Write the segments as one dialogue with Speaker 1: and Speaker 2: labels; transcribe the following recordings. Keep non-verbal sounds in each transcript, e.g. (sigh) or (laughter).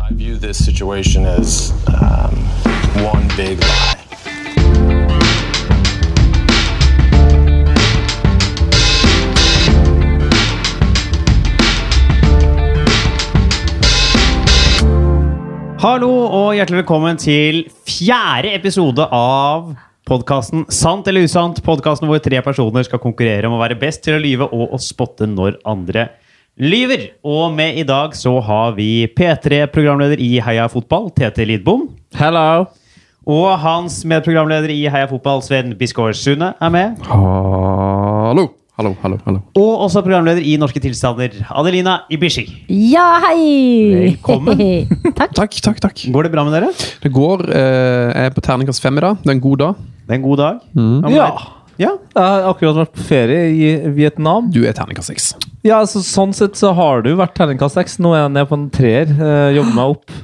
Speaker 1: I view this situation as um, one big lie.
Speaker 2: Hallo og hjertelig velkommen til fjerde episode av podkasten Sant eller usant. Podkasten hvor tre personer skal konkurrere om å være best til å lyve og å spotte når andre lyver. Og med i dag så har vi P3-programleder i Heia Fotball, Tete Lidbom.
Speaker 3: Hello.
Speaker 2: Og hans medprogramleder i Heia Fotball, Sven Bisgaard Sunde, er med.
Speaker 3: Hallo. Hallo, hallo, hallo.
Speaker 2: Og også programleder i Norske tilstander, Adelina Ibishi.
Speaker 4: Ja, hei!
Speaker 2: Velkommen.
Speaker 4: Takk.
Speaker 3: Takk, takk, takk.
Speaker 2: Går det bra med dere?
Speaker 3: Det går eh, Jeg er på terningkast fem i dag. Det er en god dag.
Speaker 2: Det er en god dag.
Speaker 5: Ja.
Speaker 2: ja.
Speaker 5: Jeg har akkurat vært på ferie i Vietnam.
Speaker 3: Du er terningkast seks.
Speaker 5: Ja, altså Sånn sett så har du vært terningkast seks. Nå er jeg nede på en treer. Eh, jobber meg opp.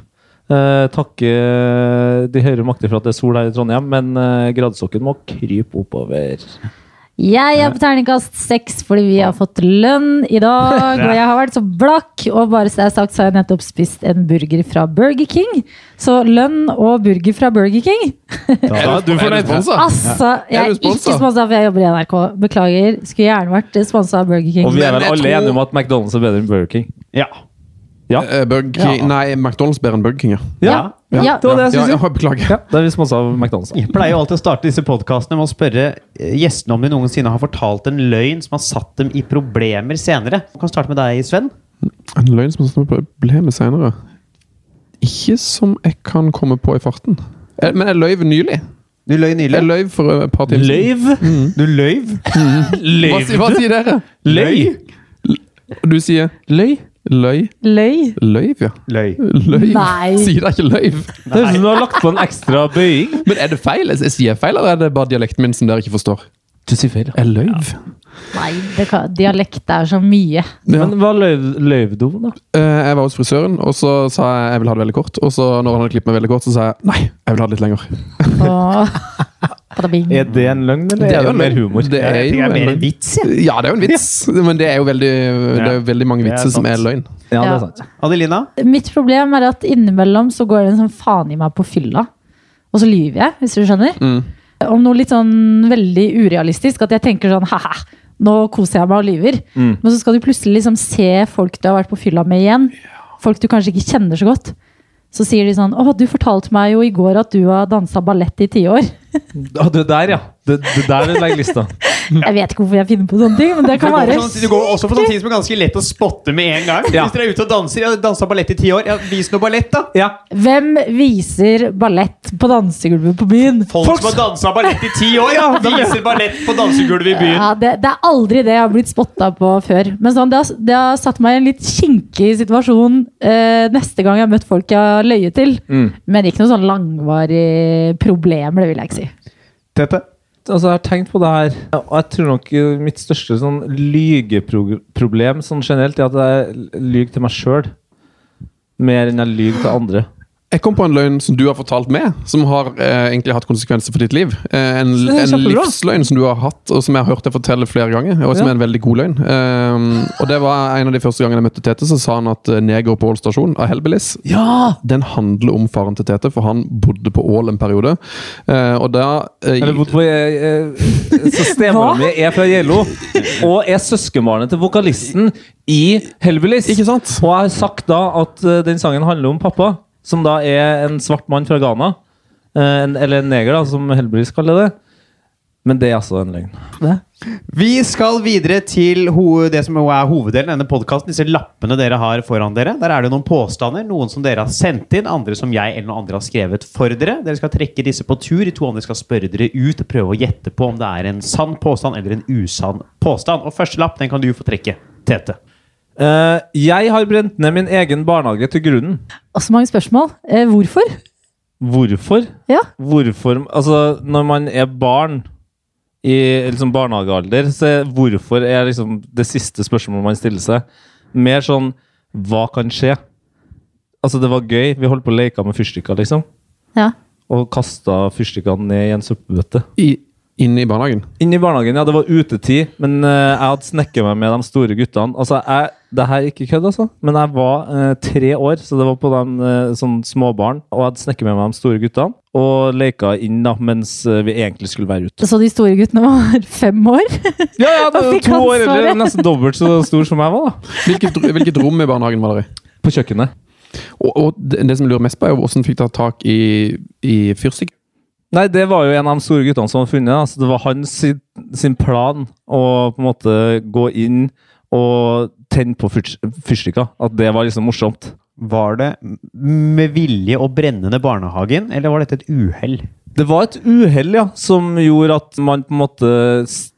Speaker 5: Eh, takke eh, de høyere makter for at det er sol her i Trondheim, men eh, gradestokken må krype oppover.
Speaker 4: (laughs) Jeg er på terningkast seks fordi vi har fått lønn i dag. Og jeg har vært så blakk, og bare så det er sagt, så har jeg nettopp spist en burger fra Burger King. Så lønn og burger fra Burger King.
Speaker 3: Er du fornøyd?
Speaker 4: Altså,
Speaker 3: Ah, Er
Speaker 4: jeg
Speaker 3: du
Speaker 4: er ikke
Speaker 3: sponset?
Speaker 4: sponsa, for jeg jobber i NRK. Beklager. Skulle gjerne vært sponsa av Burger
Speaker 5: Og
Speaker 4: King.
Speaker 5: vi
Speaker 3: Men
Speaker 5: er vel
Speaker 3: jeg
Speaker 5: alle
Speaker 3: tror-
Speaker 5: enige om at McDonald's er bedre enn Burger King.
Speaker 2: ja.
Speaker 3: Burger King eh, Nei, McDonald's bedre enn Burger King, ja.
Speaker 2: Ja.
Speaker 4: Ja.
Speaker 5: Det var det
Speaker 3: ja
Speaker 5: jeg skulle
Speaker 3: jeg
Speaker 5: si.
Speaker 3: har (laughs) Beklager.
Speaker 5: Ja, da er vi sponsa av McDonald's. da.
Speaker 2: Jeg pleier jo alltid å starte disse podkastene med å spørre eh, gjestene om de noensinne har fortalt en løgn som har satt dem i problemer senere. Vi kan starte med deg, Sven.
Speaker 3: En løgn som har problemer senere. Ikke som jeg kan komme på i farten. Eh, Men jeg løy nylig.
Speaker 2: Du løy
Speaker 3: Jeg
Speaker 2: nylig. Mm.
Speaker 3: løy for eh, et par timer siden.
Speaker 5: Løyv?
Speaker 2: Du løyv.
Speaker 3: Hva sier- Hva
Speaker 5: Løyv?
Speaker 3: sier dere?
Speaker 5: Løy?
Speaker 3: Og Du sier løy. Løy.
Speaker 4: Løy?
Speaker 3: Løyv, ja.
Speaker 2: Løy.
Speaker 3: Løy.
Speaker 4: Nei.
Speaker 3: (laughs) Sier dere ikke løyv?
Speaker 5: Det høres ut som du har lagt på en ekstra bøying.
Speaker 3: Men er det feil? Jeg sier jeg feil, eller er det bare dialekten min som dere ikke forstår?
Speaker 5: Du sier feil.
Speaker 3: Jeg løyv.
Speaker 4: Nei, det kan, dialekt er så mye.
Speaker 3: Ja.
Speaker 5: Men hva løyv- løyv du, da?
Speaker 3: Eh, Jeg var hos frisøren, og så sa jeg jeg vil ha det veldig kort. Og så når han hadde klippet meg veldig kort, så sa jeg nei, jeg vil ha det litt lenger.
Speaker 4: Og, Bada bing.
Speaker 5: Er det en løgn, eller er det
Speaker 3: en
Speaker 5: mer
Speaker 3: løgn.
Speaker 5: humor?
Speaker 3: Det er
Speaker 2: Jeg tenker
Speaker 3: jo
Speaker 2: det er
Speaker 3: en
Speaker 2: mer
Speaker 3: løgn.
Speaker 2: vits, jeg.
Speaker 3: Ja, det er jo en vits, men det er jo veldig, det er jo veldig mange
Speaker 2: Det er
Speaker 3: vitser som
Speaker 2: sant.
Speaker 3: er løgn.
Speaker 5: Ja, det
Speaker 4: Ja.
Speaker 5: er sant.
Speaker 2: Adelina?
Speaker 4: Mitt problem er at innimellom så går det en sånn faen i meg på fylla. Og så lyver jeg, hvis du skjønner.
Speaker 2: Mm.
Speaker 4: Om noe litt sånn veldig urealistisk. At jeg tenker sånn ha-ha, nå koser jeg meg og lyver.
Speaker 2: Mm.
Speaker 4: Men så skal du plutselig liksom se folk du har vært på fylla med igjen. Folk du kanskje ikke kjenner så godt. Så sier de sånn Å, du fortalte meg jo i går at du har dansa ballett i ti år.
Speaker 5: Ja, det der, ja. Det, det der vil legge lista.
Speaker 2: Mm.
Speaker 4: Jeg vet ikke hvorfor jeg finner på sånne ting, men det kan være
Speaker 2: Du sånn går også for sånne ting som er ganske lett å spotte med en gang.
Speaker 5: Ja.
Speaker 2: Hvis dere er ute og danser, ja, dansa ballett i ti år, ja, vis noe ballett, da.
Speaker 5: (laughs) Ja.
Speaker 4: Hvem viser ballett på dansegulvet på byen?
Speaker 2: Folk, som har dansa ballett i ti år, ja, viser ballett på dansegulvet i byen.
Speaker 4: Ja, det, det er aldri det jeg har blitt spotta på før. Men sånn, det, har, det har satt meg i en litt kinkig situasjon eh, neste gang jeg har møtt folk jeg har løyet til.
Speaker 2: Mm.
Speaker 4: Men ikke noe sånn langvarig problem, det vil jeg ikke si.
Speaker 2: Tete?
Speaker 5: Altså, jeg har tenkt på det her, og jeg tror nok eh, mitt største sånn lygeproblem sånn generelt er at jeg lyver til meg sjøl mer enn jeg lyver til andre.
Speaker 3: Jeg kom på en løgn som du har fortalt meg, som har eh, egentlig hatt konsekvenser for ditt liv. Eh, en
Speaker 5: det er
Speaker 3: en
Speaker 5: kjempebra.
Speaker 3: livsløgn som du har hatt, og som jeg har hørt deg fortelle flere ganger. Og som
Speaker 5: Ja.
Speaker 3: er en veldig god løgn. Eh, og det var en av de første gangene jeg møtte Tete, så sa han at eh, Neger på Ål stasjon av Hellbillies
Speaker 5: Ja!
Speaker 3: den handler om faren til Tete, for han bodde på Ål en periode. Eh, og da eh,
Speaker 5: Eller bodd på eh, eh, Så stemora
Speaker 4: Hva?
Speaker 5: mi er fra Gjello, og er søskenbarnet til vokalisten i Hellbillies.
Speaker 3: Ikke sant?
Speaker 5: Og jeg har sagt da at eh, den sangen handler om pappa, som da er en svart mann fra Ghana. Eh, en, eller en neger, da, som Hellbillies kaller det. Men det er altså en løgn.
Speaker 2: Vi skal videre til ho det som jo er hoveddelen av denne podkasten. Disse lappene dere har foran dere. Der er det noen påstander. Noen som dere har sendt inn, andre som jeg eller noen andre har skrevet for dere. Dere skal trekke disse på tur. De to andre skal spørre dere ut og prøve å gjette på om det er en sann påstand eller en usann påstand. Og første lapp den kan du få trekke, Tete.
Speaker 5: Eh, jeg har brent ned min egen barnehage til grunnen.
Speaker 4: Og så mange spørsmål. Eh, hvorfor?
Speaker 5: Hvorfor?
Speaker 4: Ja.
Speaker 5: Hvorfor Altså, når man er barn i liksom barnehagealder, så er hvorfor er liksom det siste spørsmålet man stiller seg. Mer sånn hva kan skje? Altså, det var gøy. Vi holdt på å leke med fyrstikker, liksom.
Speaker 4: ja.
Speaker 5: Og kasta fyrstikkene ned i en søppelbøtte.
Speaker 3: i, inne i barnehagen.
Speaker 5: Inne i barnehagen, ja, det var utetid, men eh, jeg hadde snekket meg med de store guttene. Altså, jeg, det her er ikke kødd, altså, men jeg var eh, tre år, så det var på de eh, sånn småbarn, og jeg hadde snekket med meg de store guttene, og leka inn da, mens eh, vi egentlig skulle være ute.
Speaker 4: Så de store guttene var (laughs) fem år.
Speaker 5: Ja, ja,
Speaker 4: Da
Speaker 5: det var
Speaker 4: fikk
Speaker 5: to
Speaker 4: han
Speaker 5: år eller
Speaker 4: svaret.
Speaker 5: nesten dobbelt så stor som jeg var, da.
Speaker 3: Hvilket, ro- hvilket rom i barnehagen var dere i?
Speaker 5: På kjøkkenet.
Speaker 3: Og, og det, det som jeg lurer mest på, er jo hvordan fikk dere tak i, i fyrstikk?
Speaker 5: Nei, det var jo en av de store guttene som var funnet. Altså, det var hans sin, sin plan å på en måte gå inn og tenne på fyrs- fyrstikker. At det var liksom morsomt.
Speaker 2: Var det med vilje å brenne ned barnehagen, eller var dette et uhell?
Speaker 5: Det var et uhell, ja, som gjorde at man på en måte s-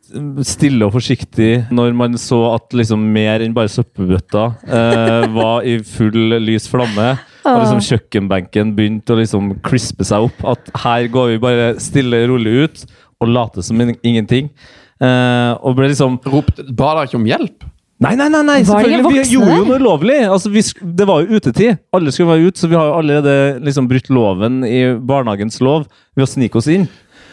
Speaker 5: stille og forsiktig når man så at liksom mer enn bare søppelbøtta eh, var i full lys flamme. Og liksom kjøkkenbenken begynte å liksom crispe seg opp. At her går vi bare stille og rolig ut og later som in- ingenting. Eh, og ble liksom
Speaker 3: Ropte, ba dere ikke om hjelp?
Speaker 5: Nei, nei, nei, nei
Speaker 4: Var det ikke
Speaker 5: selvfølgelig. Vi
Speaker 4: voksne
Speaker 5: gjorde jo
Speaker 4: der?
Speaker 5: noe ulovlig. Altså, vi, sk- det var jo utetid. Alle skulle være ute, så vi har jo allerede liksom brutt loven i barnehagens lov ved å snike oss inn.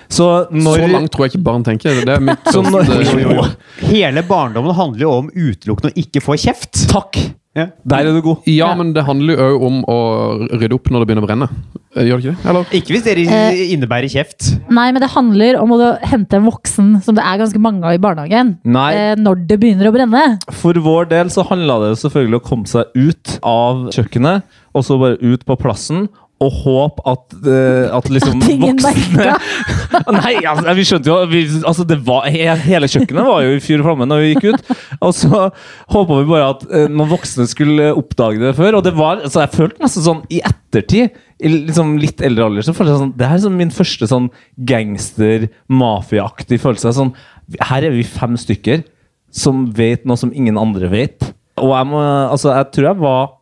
Speaker 5: Så når
Speaker 3: Så langt tror jeg ikke barn tenker. Det er mitt
Speaker 5: (laughs)
Speaker 3: sånn, eh,
Speaker 5: Så når-
Speaker 3: første-
Speaker 5: Jo, jo, jo.
Speaker 2: Hele barndommen handler jo om utelukkende å ikke få kjeft.
Speaker 5: Takk!
Speaker 2: Ja.
Speaker 5: Der er du god.
Speaker 3: Ja, men det handler jo òg om å rydde opp når det begynner å brenne. Eh, Gjør det ikke det? Eller?
Speaker 2: Ikke hvis dere
Speaker 4: Eh.
Speaker 2: innebærer kjeft.
Speaker 4: Nei, men det handler om å hente en voksen, som det er ganske mange av i barnehagen,
Speaker 5: Nei.
Speaker 4: eh, når det begynner å brenne.
Speaker 5: For vår del så handla det selvfølgelig å komme seg ut av kjøkkenet, og så bare ut på plassen. Og håpe at, eh, at liksom
Speaker 4: At ingen
Speaker 5: voksne (laughs) Nei, altså, vi skjønte jo vi, altså, det var, he- Hele kjøkkenet var jo i fyr og flamme når vi gikk ut. Og så håpa vi bare at eh, noen voksne skulle oppdage det før. Og det var, altså, jeg følte nesten sånn i ettertid, i liksom litt eldre alder, så følte jeg sånn Det her er sånn min første sånn gangster-mafiaaktig følelse. Sånn, her er vi fem stykker som vet noe som ingen andre vet. Og jeg, må, altså, jeg tror jeg var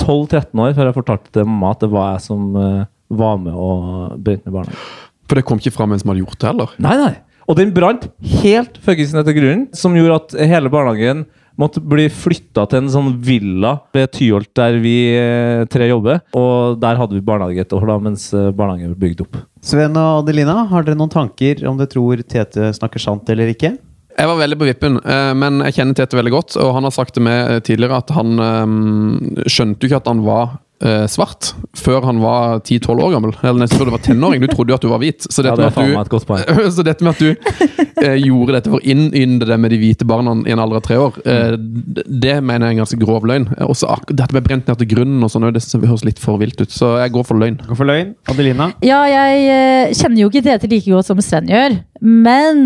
Speaker 5: 12-13 år før jeg fortalte til mamma at det var jeg som eh, var med og brente ned barnehagen.
Speaker 3: For det kom ikke fram mens man hadde gjort det heller.
Speaker 5: Nei, nei. Og den brant helt fuckings ned til grunnen, som gjorde at hele barnehagen måtte bli flytta til en sånn villa ved Tyholt, der vi eh, tre jobber. Og der hadde vi barnehage et år, da, mens eh, barnehagen ble bygd opp.
Speaker 2: Sven og Adelina, har dere noen tanker om dere tror Tete snakker sant eller ikke?
Speaker 3: Jeg var veldig på vippen, eh, men jeg kjenner Tete veldig godt. Og han har sagt til meg eh, tidligere at han eh, skjønte jo ikke at han var eh, svart før han var 10-12 år gammel. Eller nesten før du var tenåring. Du trodde jo at du var hvit. Så
Speaker 5: Ja,
Speaker 3: dette,
Speaker 5: det er faen
Speaker 3: med,
Speaker 5: meg
Speaker 3: at
Speaker 5: et godt poeng.
Speaker 3: du, (laughs) så dette med at du eh, gjorde dette for å innynde det med de hvite barna i en alder av tre år, eh, d- det mener jeg er en ganske grov løgn. Eh, Også ak dette med brent ned til grunnen og sånn, det synes jeg høres litt for vilt ut. Så jeg går for løgn.
Speaker 2: Hvorfor løgn? Adelina?
Speaker 4: Ja, jeg eh, kjenner jo ikke Tete like godt som Sven gjør. Men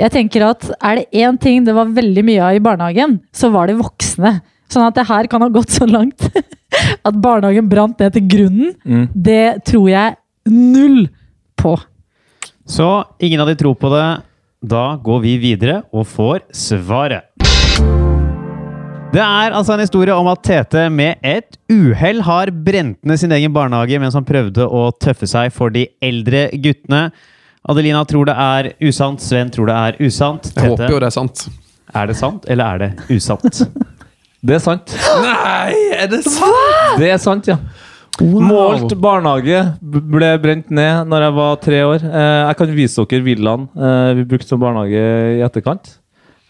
Speaker 4: jeg tenker at er det én ting det var veldig mye av i barnehagen, så var det voksne. Sånn at det her kan ha gått så langt (laughs) at barnehagen brant ned til grunnen.
Speaker 3: Mm.
Speaker 4: Det tror jeg null på.
Speaker 2: Så ingen av de tror på det. Da går vi videre og får svaret. Det er altså en historie om at Tete med et uhell har brent ned sin egen barnehage mens han prøvde å tøffe seg for de eldre guttene. Adelina tror det er usant, Sven tror det er usant.
Speaker 3: Jeg håper
Speaker 2: Tete,
Speaker 3: jo det er sant.
Speaker 2: er det sant, eller er det usant?
Speaker 5: Det er sant. Nei, er det sant? Det er sant, ja.
Speaker 3: Wow.
Speaker 5: Målt barnehage b- ble brent ned når jeg var tre år. Eh, Jeg kan vise dere villaen eh, vi brukte som barnehage i etterkant.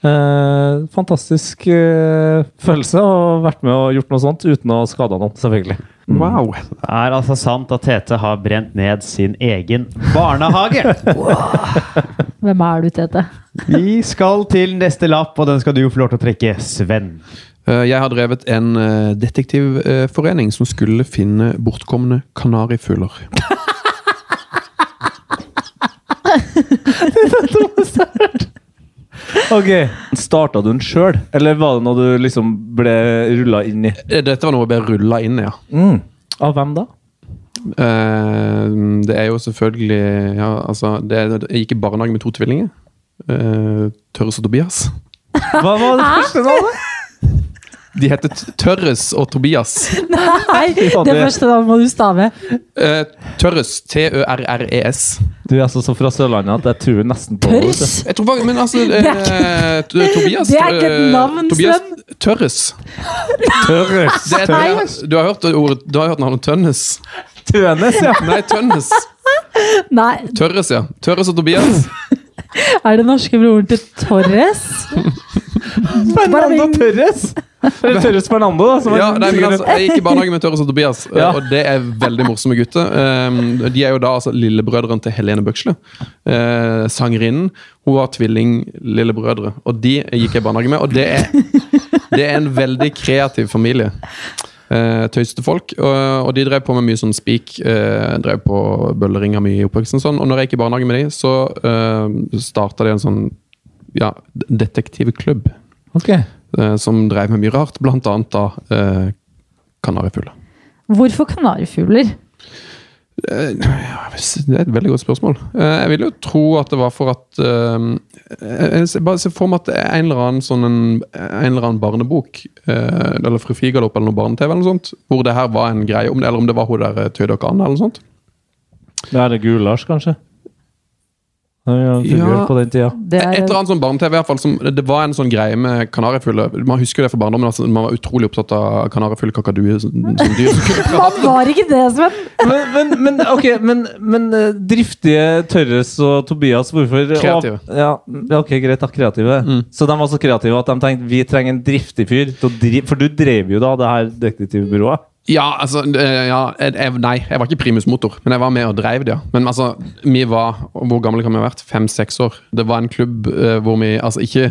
Speaker 5: Eh, Fantastisk eh, følelse å ha vært med og gjort noe sånt uten å skade noen, selvfølgelig.
Speaker 3: Wow.
Speaker 2: Det er altså sant at Tete har brent ned sin egen barnehage.
Speaker 4: Hvem er du,
Speaker 3: (laughs)
Speaker 4: Tete?
Speaker 2: (laughs) Vi skal til neste lapp, og den skal du få lov til å trekke, Sven.
Speaker 3: Eh, Jeg har drevet en eh, detektivforening som skulle finne bortkomne kanarifugler.
Speaker 5: Ok, Starta du den sjøl, eller var det noe du liksom ble rulla inn i?
Speaker 3: Eh, Dette var noe jeg ble rulla inn i, ja.
Speaker 5: Mm. Av hvem da?
Speaker 3: Eh, Det er jo selvfølgelig ja, altså, det, er- Jeg gikk i barnehage med to tvillinger. Eh, Tørres og Tobias.
Speaker 5: Hva var det første navnet?
Speaker 3: De heter T- Tørres og Tobias.
Speaker 4: Nei, det første navnet må du stave.
Speaker 3: Eh, Tørres. T-ø-r-r-e-s.
Speaker 5: Du er altså så fra Sørlandet at jeg tror nesten på det.
Speaker 4: Tørs!
Speaker 3: Jeg tror faktisk, men altså eh,
Speaker 4: er ikke-
Speaker 3: T- Tobias
Speaker 4: det er ikke et
Speaker 3: eh,
Speaker 4: navn,
Speaker 3: Tobias
Speaker 4: Sven.
Speaker 3: Tørres.
Speaker 5: Tørres.
Speaker 3: Det er,
Speaker 4: Nei.
Speaker 3: du har hørt ordet Du har hørt navnet Tønnes?
Speaker 5: Tønes, ja.
Speaker 3: Nei, Tønnes.
Speaker 4: Nei,
Speaker 3: Tørres, ja. Tørres og Tobias.
Speaker 4: Er det norske broren til Torres?
Speaker 2: Fernando Torres!
Speaker 5: Eller Tørres Fernando, da. Som er
Speaker 3: Ja, nei, men altså, jeg gikk i barnehage med Tørres og Tobias,
Speaker 5: (laughs) Ja.
Speaker 3: og det er veldig morsomme gutter. Um, De er jo da altså lillebrødrene til Helene Bøksle. eh, Sangerinnen. Hun var tvilling-lillebrødre, og de gikk jeg i barnehage med. Og det er, det er en veldig kreativ familie. Eh, tøyste folk. Og, og de drev på med mye sånn spik. Eh, drev på bølleringer mye i oppveksten. og Sånn. Og når jeg gikk i barnehage med de, så eh, starta de en sånn ja, detektivklubb
Speaker 5: Ok.
Speaker 3: eh, som drev med mye rart, blant annet da eh, kanarifugler.
Speaker 4: Hvorfor kanarifugler?
Speaker 3: Eh, ja, Det er et veldig godt spørsmål. Eh, Jeg vil jo tro at det var for at eh, jeg ser- Bare se for meg at det er en eller annen, sånn en, en eller annen barnebok, eh, eller Fru Figalopp eller noe barne-TV, eller noe sånt, hvor det her var en greie, om det, eller om det var hun der eh, Tøydokk Anne, eller noe sånt.
Speaker 5: Ja, er det Gulars, kanskje?
Speaker 3: Ja.
Speaker 5: Ja, ja. på den tida.
Speaker 4: Det
Speaker 3: Et
Speaker 4: er,
Speaker 3: eller annet sånn barne-TV, i hvert fall. Som, det var en sånn greie med kanarifugler. Man husker jo det fra barndommen, altså, man var utrolig opptatt av kanarifugler, kakaduer som, som sånn dyr.
Speaker 4: man var ikke det, Sven!
Speaker 5: Men, men, men, ok, men, men eh, driftige Tørres og Tobias, hvorfor
Speaker 3: Kreative. Mm.
Speaker 5: Og, ja, ja, ok, greit, da, kreative. Så de var så kreative at de tenkte vi trenger en driftig fyr. til å dri- For du drev jo da det her detektivbyrået.
Speaker 3: Ja, altså eh, ja, jeg, jeg- Nei, jeg var ikke primusmotor, men jeg var med og dreiv det. ja. Men altså, vi var Hvor gamle kan vi ha vært? Fem-seks år. Det var en klubb eh, hvor vi altså ikke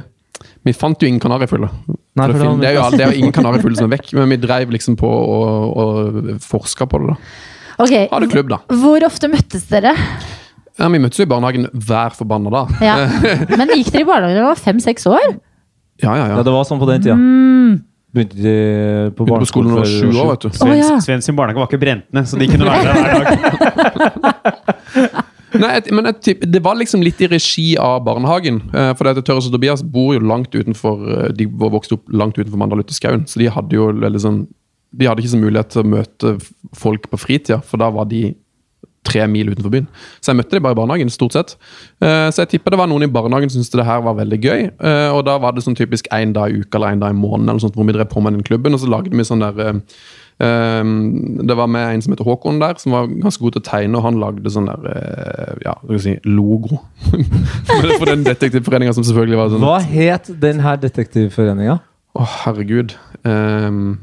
Speaker 3: Vi fant jo ingen kanarifugler.
Speaker 5: Nei,
Speaker 3: For det,
Speaker 5: for det var-
Speaker 3: fin- det, er jo, all- det er jo ingen kanarifugler som er vekk, men vi dreiv liksom på og, og forska på det. da.
Speaker 4: Ok,
Speaker 3: Hadde klubb, da.
Speaker 4: Hvor ofte møttes dere?
Speaker 3: Ja, vi møttes jo i barnehagen hver forbanna dag.
Speaker 4: Ja.
Speaker 5: (laughs)
Speaker 4: Men gikk dere i barnehagen da dere var fem-seks år?
Speaker 3: Ja, ja,
Speaker 5: Ja,
Speaker 3: ja.
Speaker 5: det var sånn på den tida. Begynte de på
Speaker 3: Begynte på skolen da jeg var
Speaker 5: barneskolen
Speaker 3: sju
Speaker 5: før
Speaker 3: år, vet du.
Speaker 4: Å,
Speaker 2: Sven,
Speaker 4: ja.
Speaker 2: Sven sin barnehage var ikke brent ned, så de kunne være der hver dag.
Speaker 3: Nei, jeg, men jeg, tipp- det var liksom litt i regi av barnehagen. eh, For det at Tørres og Tobias bor jo langt utenfor eh, De var vokst opp langt utenfor Mandal ute i skauen, så de hadde jo veldig sånn De hadde ikke så mulighet til å møte f- folk på fritida, for da var de tre mil utenfor byen. Så jeg møtte dem bare i barnehagen, stort sett. Eh, Så jeg tipper det var noen i barnehagen som syntes det her var veldig gøy. eh, Og da var det sånn typisk én dag i uka eller én dag i måneden eller sånt, hvor vi drev på med den klubben, og så lagde vi sånn der eh, Um, det var med en som heter Håkon der, som var ganske god til å tegne, og han lagde sånn der eh, Ja, hva skal jeg si Logo. (laughs) for, for den detektivforeninga som selvfølgelig var sånn Å,
Speaker 5: Hva het den her detektivforeninga?
Speaker 3: herregud. Um,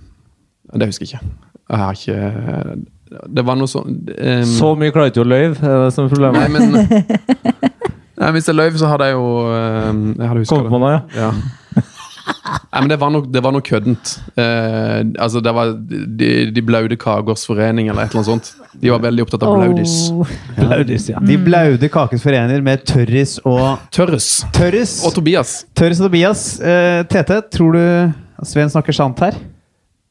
Speaker 3: det husker jeg ikke. Jeg har ikke Det var noe sånn um,
Speaker 5: Så mye klarte jo løyv, er det som
Speaker 3: Nei,
Speaker 5: er problemet.
Speaker 3: men
Speaker 4: (laughs)
Speaker 3: nei, Hvis jeg løy, så hadde jeg jo um, Jeg hadde huska
Speaker 5: Kom
Speaker 3: det.
Speaker 5: på noe, ja.
Speaker 3: Ja. Nei, men det var noe, det var noe køddent. Eh, altså, det var De, de Blaude Kagers Forening eller et eller annet sånt. De var veldig opptatt av blaudis.
Speaker 4: Åh.
Speaker 5: Blaudis, ja.
Speaker 2: De blaude kakens forener med Tørris og
Speaker 3: Tørres.
Speaker 2: Tørris.
Speaker 3: Og Tobias.
Speaker 2: Tørris og Tobias. Eh, Tete, tror du Sven snakker sant her?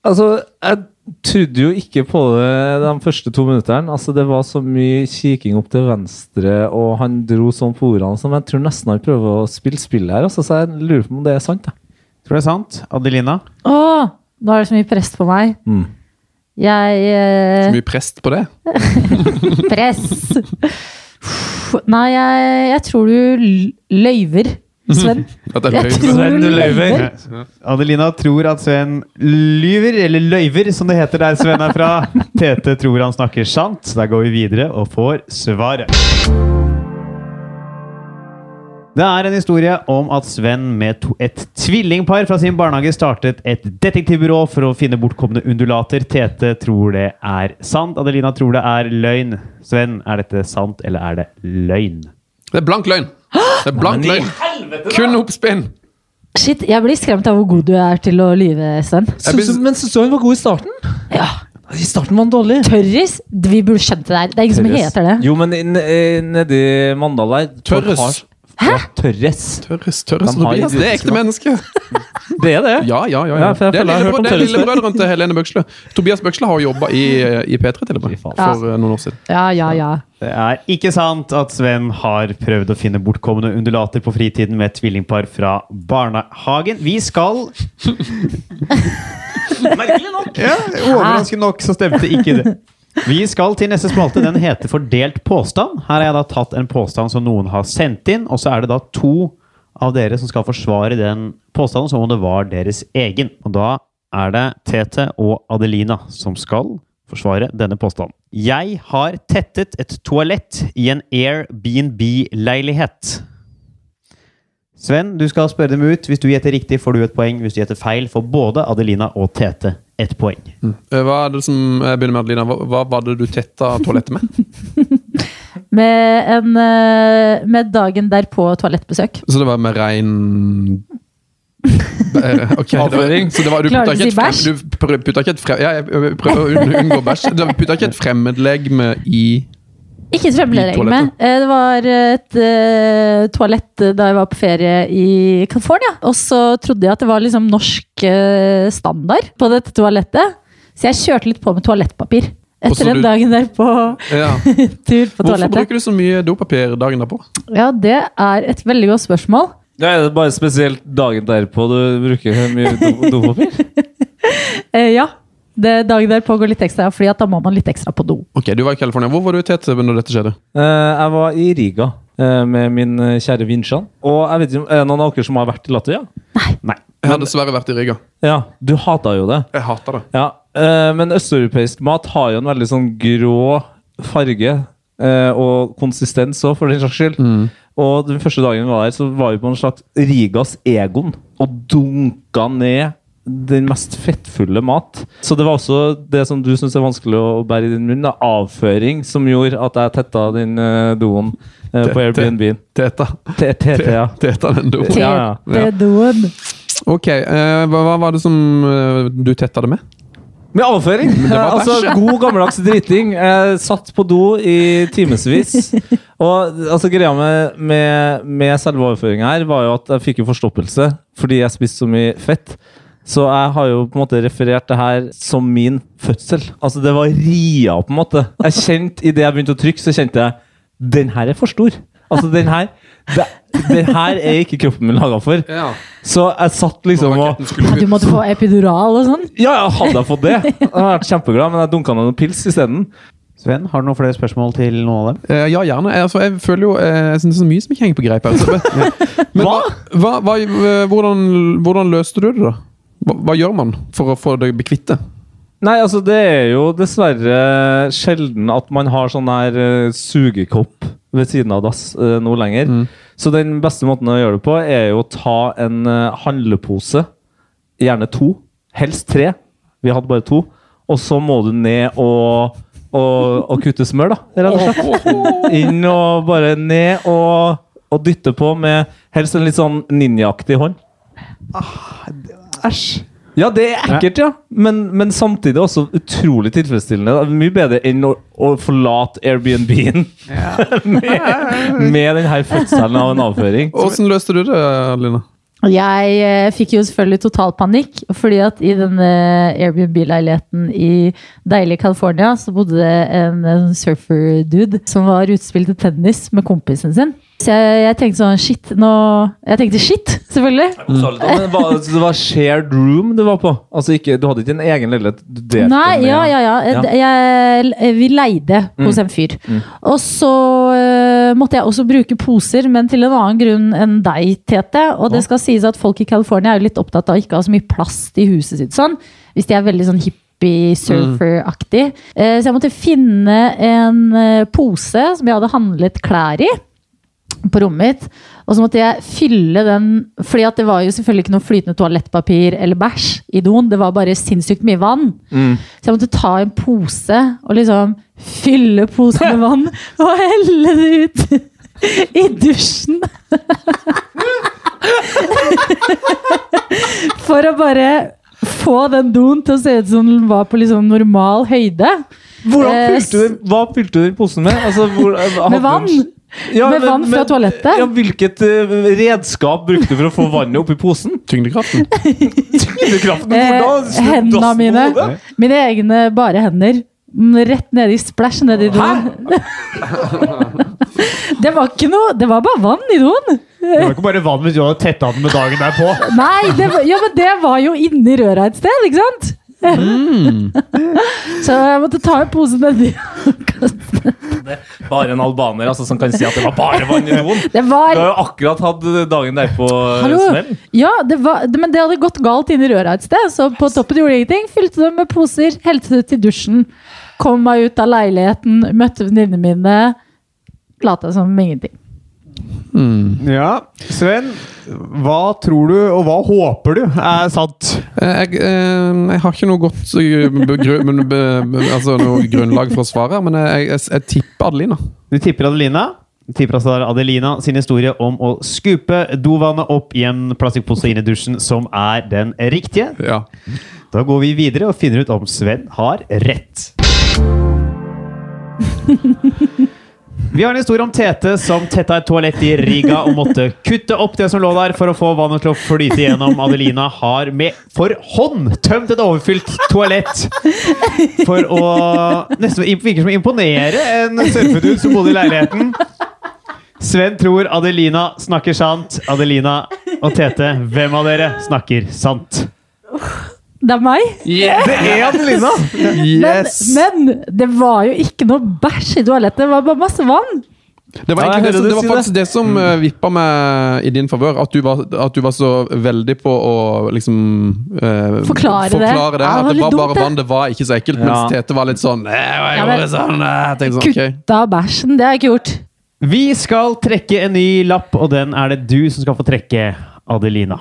Speaker 5: Altså, jeg trodde jo ikke på det de første to minuttene. Altså, det var så mye kiking opp til venstre, og han dro sånn på ordene som jeg tror nesten han prøver å spille spill her. Altså, så jeg lurer på om det er sant. Jeg.
Speaker 2: Tror du det er sant? Adelina?
Speaker 4: Åh, nå er det så mye press på meg.
Speaker 5: Mm.
Speaker 4: Jeg eh,
Speaker 3: Så mye prest på det.
Speaker 4: Press! Uff, Nei, jeg, jeg tror du l- løyver,
Speaker 5: (laughs)
Speaker 4: Sven.
Speaker 3: At jeg
Speaker 4: Jeg
Speaker 3: løy.
Speaker 4: tror
Speaker 5: Sven, du løyver.
Speaker 2: Adelina tror at Sven lyver, eller løyver som det heter der Sven er fra.
Speaker 5: (laughs)
Speaker 2: Tete tror han snakker sant. Der går vi videre og får svaret. Det er en historie om at Sven med to, et tvillingpar fra sin barnehage startet et detektivbyrå for å finne bortkomne undulater. Tete tror det er sant. Adelina tror det er løgn. Sven, er dette sant, eller er det løgn?
Speaker 3: Det er blank løgn. Det er blank løgn. Kun oppspinn.
Speaker 4: Shit, jeg blir skremt av hvor god du er til å lyve, Sven.
Speaker 3: Jeg
Speaker 5: Syns du-
Speaker 3: blir-
Speaker 5: men syns du han var god i starten?
Speaker 4: Ja.
Speaker 5: I starten var han dårlig.
Speaker 4: Tørris? Vi burde skjønt det der. Det er ingen som heter det.
Speaker 5: Jo, men n- eh, nedi Mandal der
Speaker 3: Tørres.
Speaker 5: Hæ? Tørres.
Speaker 3: Tørres, tørres
Speaker 5: De har
Speaker 3: Tobias. Det er ekte menneske.
Speaker 5: Det er det.
Speaker 3: Ja, ja, ja.
Speaker 5: Ja,
Speaker 3: ja.
Speaker 5: for jeg
Speaker 3: Det er
Speaker 5: føler jeg har hørt
Speaker 3: lillebrød- det er
Speaker 5: om Tørres før.
Speaker 3: lillebrødrene til Helene Bøksle. Tobias Bøksle har jobba i, eh, i P3 til og med for
Speaker 4: Ja.
Speaker 3: eh, noen år siden.
Speaker 4: Ja, ja, ja.
Speaker 2: Det er ikke sant at Sven har prøvd å finne bortkomne undulater på fritiden med et tvillingpar fra barnehagen. Vi skal Merkelig nok! Ja, Overraskende nok så stemte ikke det. Vi skal til neste spalte. Den heter Fordelt påstand. Her har jeg da tatt en påstand som noen har sendt inn, og så er det da to av dere som skal forsvare den påstanden som om det var deres egen. Og da er det Tete og Adelina som skal forsvare denne påstanden. Jeg har tettet et toalett i en Airbnb-leilighet. Sven, du skal spørre dem ut. Hvis du gjetter riktig, får du et poeng. Hvis du gjetter feil, får både Adelina og Tete ett poeng.
Speaker 3: Eh, Hva er det som, jeg begynner med Adelina, hva, hva var det du tetta toalettet med?
Speaker 4: Med, en, eh, med dagen derpå toalettbesøk.
Speaker 3: (laughs) Så det var med rein (laughs) Eh, ok,
Speaker 5: Avføring?
Speaker 3: Det var, så det var, du
Speaker 4: Klarer
Speaker 3: putta
Speaker 4: du
Speaker 3: ikke,
Speaker 4: å
Speaker 3: et
Speaker 4: si
Speaker 3: frem-
Speaker 4: bæsj?
Speaker 3: du pr- putta ikke et frem... Ja, jeg jeg prøver å unn- unngå bæsj. Du putta ikke et fremmedlegeme i
Speaker 4: Ikke et fremmedlegeme.
Speaker 3: I toalettet.
Speaker 4: Eh, Det var et eh, toalett da jeg var på ferie i California. Og så trodde jeg at det var liksom norsk eh, standard på dette toalettet. Så jeg kjørte litt på med toalettpapir.
Speaker 3: Og så
Speaker 4: Etter den
Speaker 3: du-
Speaker 4: dagen der på (laughs)
Speaker 3: ja.
Speaker 4: tur på
Speaker 3: Hvorfor
Speaker 4: toalettet.
Speaker 3: bruker du så mye dopapir dagen derpå?
Speaker 4: Ja, det er et veldig godt spørsmål.
Speaker 5: Ja, er det bare spesielt dagen derpå du bruker mye do- dopapir?
Speaker 4: Eh, ja. Det dagen derpå går litt ekstra, fordi at da må man litt ekstra på do.
Speaker 3: Ok, du var i California. Hvor var du i Tete når dette skjedde?
Speaker 5: Eh, jeg var i Riga eh, med min eh, kjære Vinsjan. Og jeg vet ikke, om- er det noen av dere som har vært i Latvia?
Speaker 2: Nei.
Speaker 3: Jeg har dessverre vært i Riga.
Speaker 5: Ja, du hata jo det.
Speaker 3: Jeg hater det.
Speaker 5: Ja, eh, men østeuropeisk mat har jo en veldig sånn grå farge eh, og konsistens òg, for den saks skyld. Og den første dagen vi var der, så var vi på en slags Rigas Egon og dunka ned den mest fettfulle mat. Så det var også det som du syns er vanskelig å å bære i din munn, da, avføring, som gjorde at jeg tetta den eh, doen eh, på
Speaker 3: Tette.
Speaker 5: Airbnb.
Speaker 3: Teta.
Speaker 5: TT, ja.
Speaker 3: Teta den dopen.
Speaker 5: Ja, ja.
Speaker 4: Tetedoen.
Speaker 3: Ok, eh, hva, hva var det som eh, du tetta det med?
Speaker 5: Med (laughs) avføring!
Speaker 3: det var
Speaker 5: Eh, altså,
Speaker 3: bæsj.
Speaker 5: god gammeldags driting. Eh, satt på do i timevis. Og altså, greia med, med, med selve overføringa her var jo at jeg fikk jo forstoppelse fordi jeg spiste så mye fett. Så jeg har jo på en måte referert det her som min fødsel. Altså, det var ria, på en måte. Jeg kjente, Idet jeg begynte å trykke, så kjente jeg den her er for stor. Altså, den her det, Den her er ikke kroppen min laga for.
Speaker 3: Ja.
Speaker 5: Så jeg satt liksom og
Speaker 4: Du måtte få epidural og sånn.
Speaker 5: ja, ja, hadde jeg fått det! Jeg hadde vært kjempeglad, men jeg dunka ned noen pils isteden.
Speaker 2: Sven, har du noen flere spørsmål til noen av dem?
Speaker 3: Eh, ja, gjerne. Jeg, altså, jeg føler jo eh, Jeg synes det er så mye som ikke henger på greip. her, (laughs) Altså. Men hva? Hva, hva, eh, hvordan, hvordan løste du det, da? Hva, hva gjør man for å få det bekvitt det?
Speaker 5: Nei, altså, det er jo dessverre sjelden at man har sånn her eh, sugekopp ved siden av dass eh, nå lenger. Så den beste måten å gjøre det på, er jo å ta en eh, handlepose. Gjerne to. Helst tre. Vi hadde bare to. Og så må du ned og, og, og kutte smør, da, rett og slett. Inn og bare ned og, og dytte på med helst en litt sånn ninjaaktig hånd.
Speaker 2: Æsj.
Speaker 5: Ja, det er ekkelt, ja. Men, men samtidig også utrolig tilfredsstillende. Det er mye bedre enn å, å forlate Airbnb-en med, (laughs) med den her fødselen av en avføring.
Speaker 3: Åssen løste du det, Lina?
Speaker 4: Jeg eh, fikk jo selvfølgelig total panikk, fordi at i denne Airbnb-leiligheten i deilige California, så bodde det en, en surfer-dude som var utspilt til tennis med kompisen sin. Så jeg, jeg tenkte sånn, shit, nå... Jeg tenkte shit, selvfølgelig.
Speaker 5: Men hva, så det var shared room du var på? Altså ikke, Du hadde ikke en egen leilighet? Du delte
Speaker 4: Nei,
Speaker 5: med-
Speaker 4: ja, ja, ja.
Speaker 5: Ja. Mm.
Speaker 4: Eh, Jeg, vi leide hos en fyr. Og så eh, måtte jeg også bruke poser, men til en annen grunn enn deg, Tete. Og det skal sies at folk i California er jo litt opptatt av å ikke ha så mye plast i huset sitt. sånn. Hvis de er veldig sånn hippie-surfer-aktig. Eh, Så jeg måtte finne en eh, pose som jeg hadde handlet klær i på rommet mitt. Og så måtte jeg fylle den fordi at det var jo selvfølgelig ikke noe flytende toalettpapir eller bæsj i doen. Det var bare sinnssykt mye vann. Så jeg måtte ta en pose og liksom fylle posen med vann og helle det ut i dusjen. For å bare få den doen til å se ut som den var på liksom normal høyde.
Speaker 5: Hvordan
Speaker 4: Eh,
Speaker 5: fylte du, den- hva fylte du den posen med? Altså, hvor, hadde du en-
Speaker 4: Med vann.
Speaker 5: Ja,
Speaker 4: Med vann fra toalettet.
Speaker 5: Ja, hvilket eh, redskap brukte du for å få vannet oppi posen?
Speaker 3: Tyngdekraften?
Speaker 5: Tyngdekraften? hvordan?
Speaker 4: Eh, hendene
Speaker 5: Dass på
Speaker 4: mine.
Speaker 5: hodet?
Speaker 4: Mine egne bare hender. Mm, Rett nedi splæsj nedi doen. (laughs) det var ikke noe Det var bare vann i doen.
Speaker 2: Det var ikke bare vann hvis du hadde tetta den med dagen derpå.
Speaker 4: Nei, det var, ja, men det var jo inni røra et sted, ikke sant? (laughs) Så jeg måtte ta en pose nedi.
Speaker 5: Bare en albaner altså, som kan si at det var bare vann i doen.
Speaker 4: Det
Speaker 5: Du har
Speaker 4: var
Speaker 5: jo akkurat hatt dagen derpå
Speaker 4: Hallo?
Speaker 5: smell.
Speaker 4: Ja, det var, det, men det hadde gått galt inni røra et sted, så på toppen gjorde jeg ingenting. Fylte det med poser, helte det ut i dusjen. Kom meg ut av leiligheten, møtte venninnene mine. Lata som ingenting.
Speaker 2: Ja, Sven. Hva tror du, og hva håper du er sant?
Speaker 3: (laughs) Eh, Jeg, eh, jeg har ikke noe godt eh, begru- men, be- be- altså noe grunnlag for å svare, her, men jeg, jeg, jeg tipper Adelina.
Speaker 2: Du tipper Adelina. Du tipper altså Adelina sin historie om å skupe dovannet opp i en plastikkpose inn i dusjen, som er den riktige.
Speaker 3: Ja.
Speaker 2: Da går vi videre og finner ut om Sven har rett. Vi har en historie om Tete som tetta et toalett i Riga og måtte kutte opp det som lå der for å få vannet til å flyte gjennom. Adelina har med for hånd tømt et overfylt toalett for å Nesten virker som å imponere en surfedude som bodde i leiligheten. Sven tror Adelina snakker sant. Adelina og Tete, hvem av dere snakker sant?
Speaker 4: Det er meg.
Speaker 2: Det er Adelina!
Speaker 4: Men, men det var jo ikke noe bæsj i toalettet, det var bare masse vann.
Speaker 3: Det
Speaker 2: Ja,
Speaker 3: var,
Speaker 2: jeg
Speaker 3: egentlig det,
Speaker 2: hører du
Speaker 3: som,
Speaker 2: Mm.
Speaker 3: det var
Speaker 2: si
Speaker 3: faktisk det som uh, vippa meg i din favør. At, du var- at du var så veldig på å liksom eh,
Speaker 4: Forklare det.
Speaker 3: forklare det.
Speaker 4: Ja, det
Speaker 3: At
Speaker 4: var
Speaker 3: det
Speaker 4: litt
Speaker 3: var
Speaker 4: dumt,
Speaker 3: bare
Speaker 4: det.
Speaker 3: vann, det var ikke så ekkelt.
Speaker 5: Ja.
Speaker 3: Mens Tete var litt sånn «Nei, jeg
Speaker 4: Ja,
Speaker 3: gjorde
Speaker 4: men-
Speaker 3: sånn, nei», jeg tenkte sånn, ok.
Speaker 4: Kutta bæsjen, det har jeg ikke gjort.
Speaker 2: Vi skal trekke en ny lapp, og den er det du som skal få trekke, Adelina.